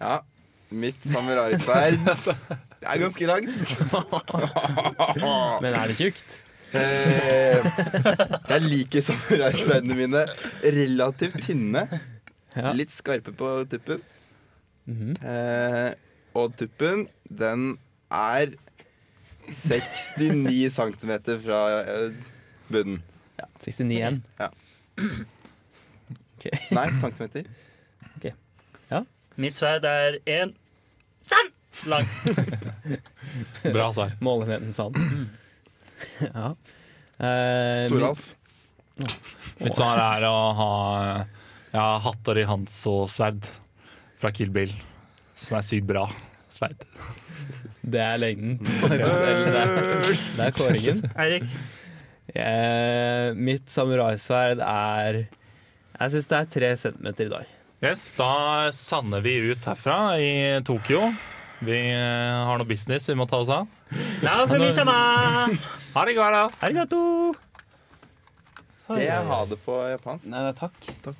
Speaker 3: Ja. Mitt samuraisverd. Det er ganske langt.
Speaker 1: Men er det tjukt?
Speaker 3: Eh, Jeg liker samuraisverdene mine relativt tynne.
Speaker 1: Ja.
Speaker 3: Litt skarpe på tuppen. Eh, Og tuppen, den er 69 cm fra eh, bunnen.
Speaker 1: 69 igjen.
Speaker 3: Nei, centimeter.
Speaker 4: Mitt sverd er en sann lang.
Speaker 2: Bra svar.
Speaker 1: Målenheten sand. Ja. Eh,
Speaker 3: Toralf.
Speaker 2: Mitt svar er å ha ja, Hattori Hans og sverd fra Kill Bill. Som er sykt bra sverd.
Speaker 1: men Det er lengden. på episoden. Det er- det er kåringen.
Speaker 4: Eirik,
Speaker 1: Eh, mitt samuraisverd er Jeg syns det er tre centimeter i dag.
Speaker 2: Yes, da sander vi ut herfra i Tokyo. Vi eh, har noe business vi må ta oss av.
Speaker 4: la fumishama!
Speaker 2: Ha det, Gara!
Speaker 4: Arigato!
Speaker 3: Det er ha det på japansk.
Speaker 1: Nei, takk.
Speaker 3: Takk.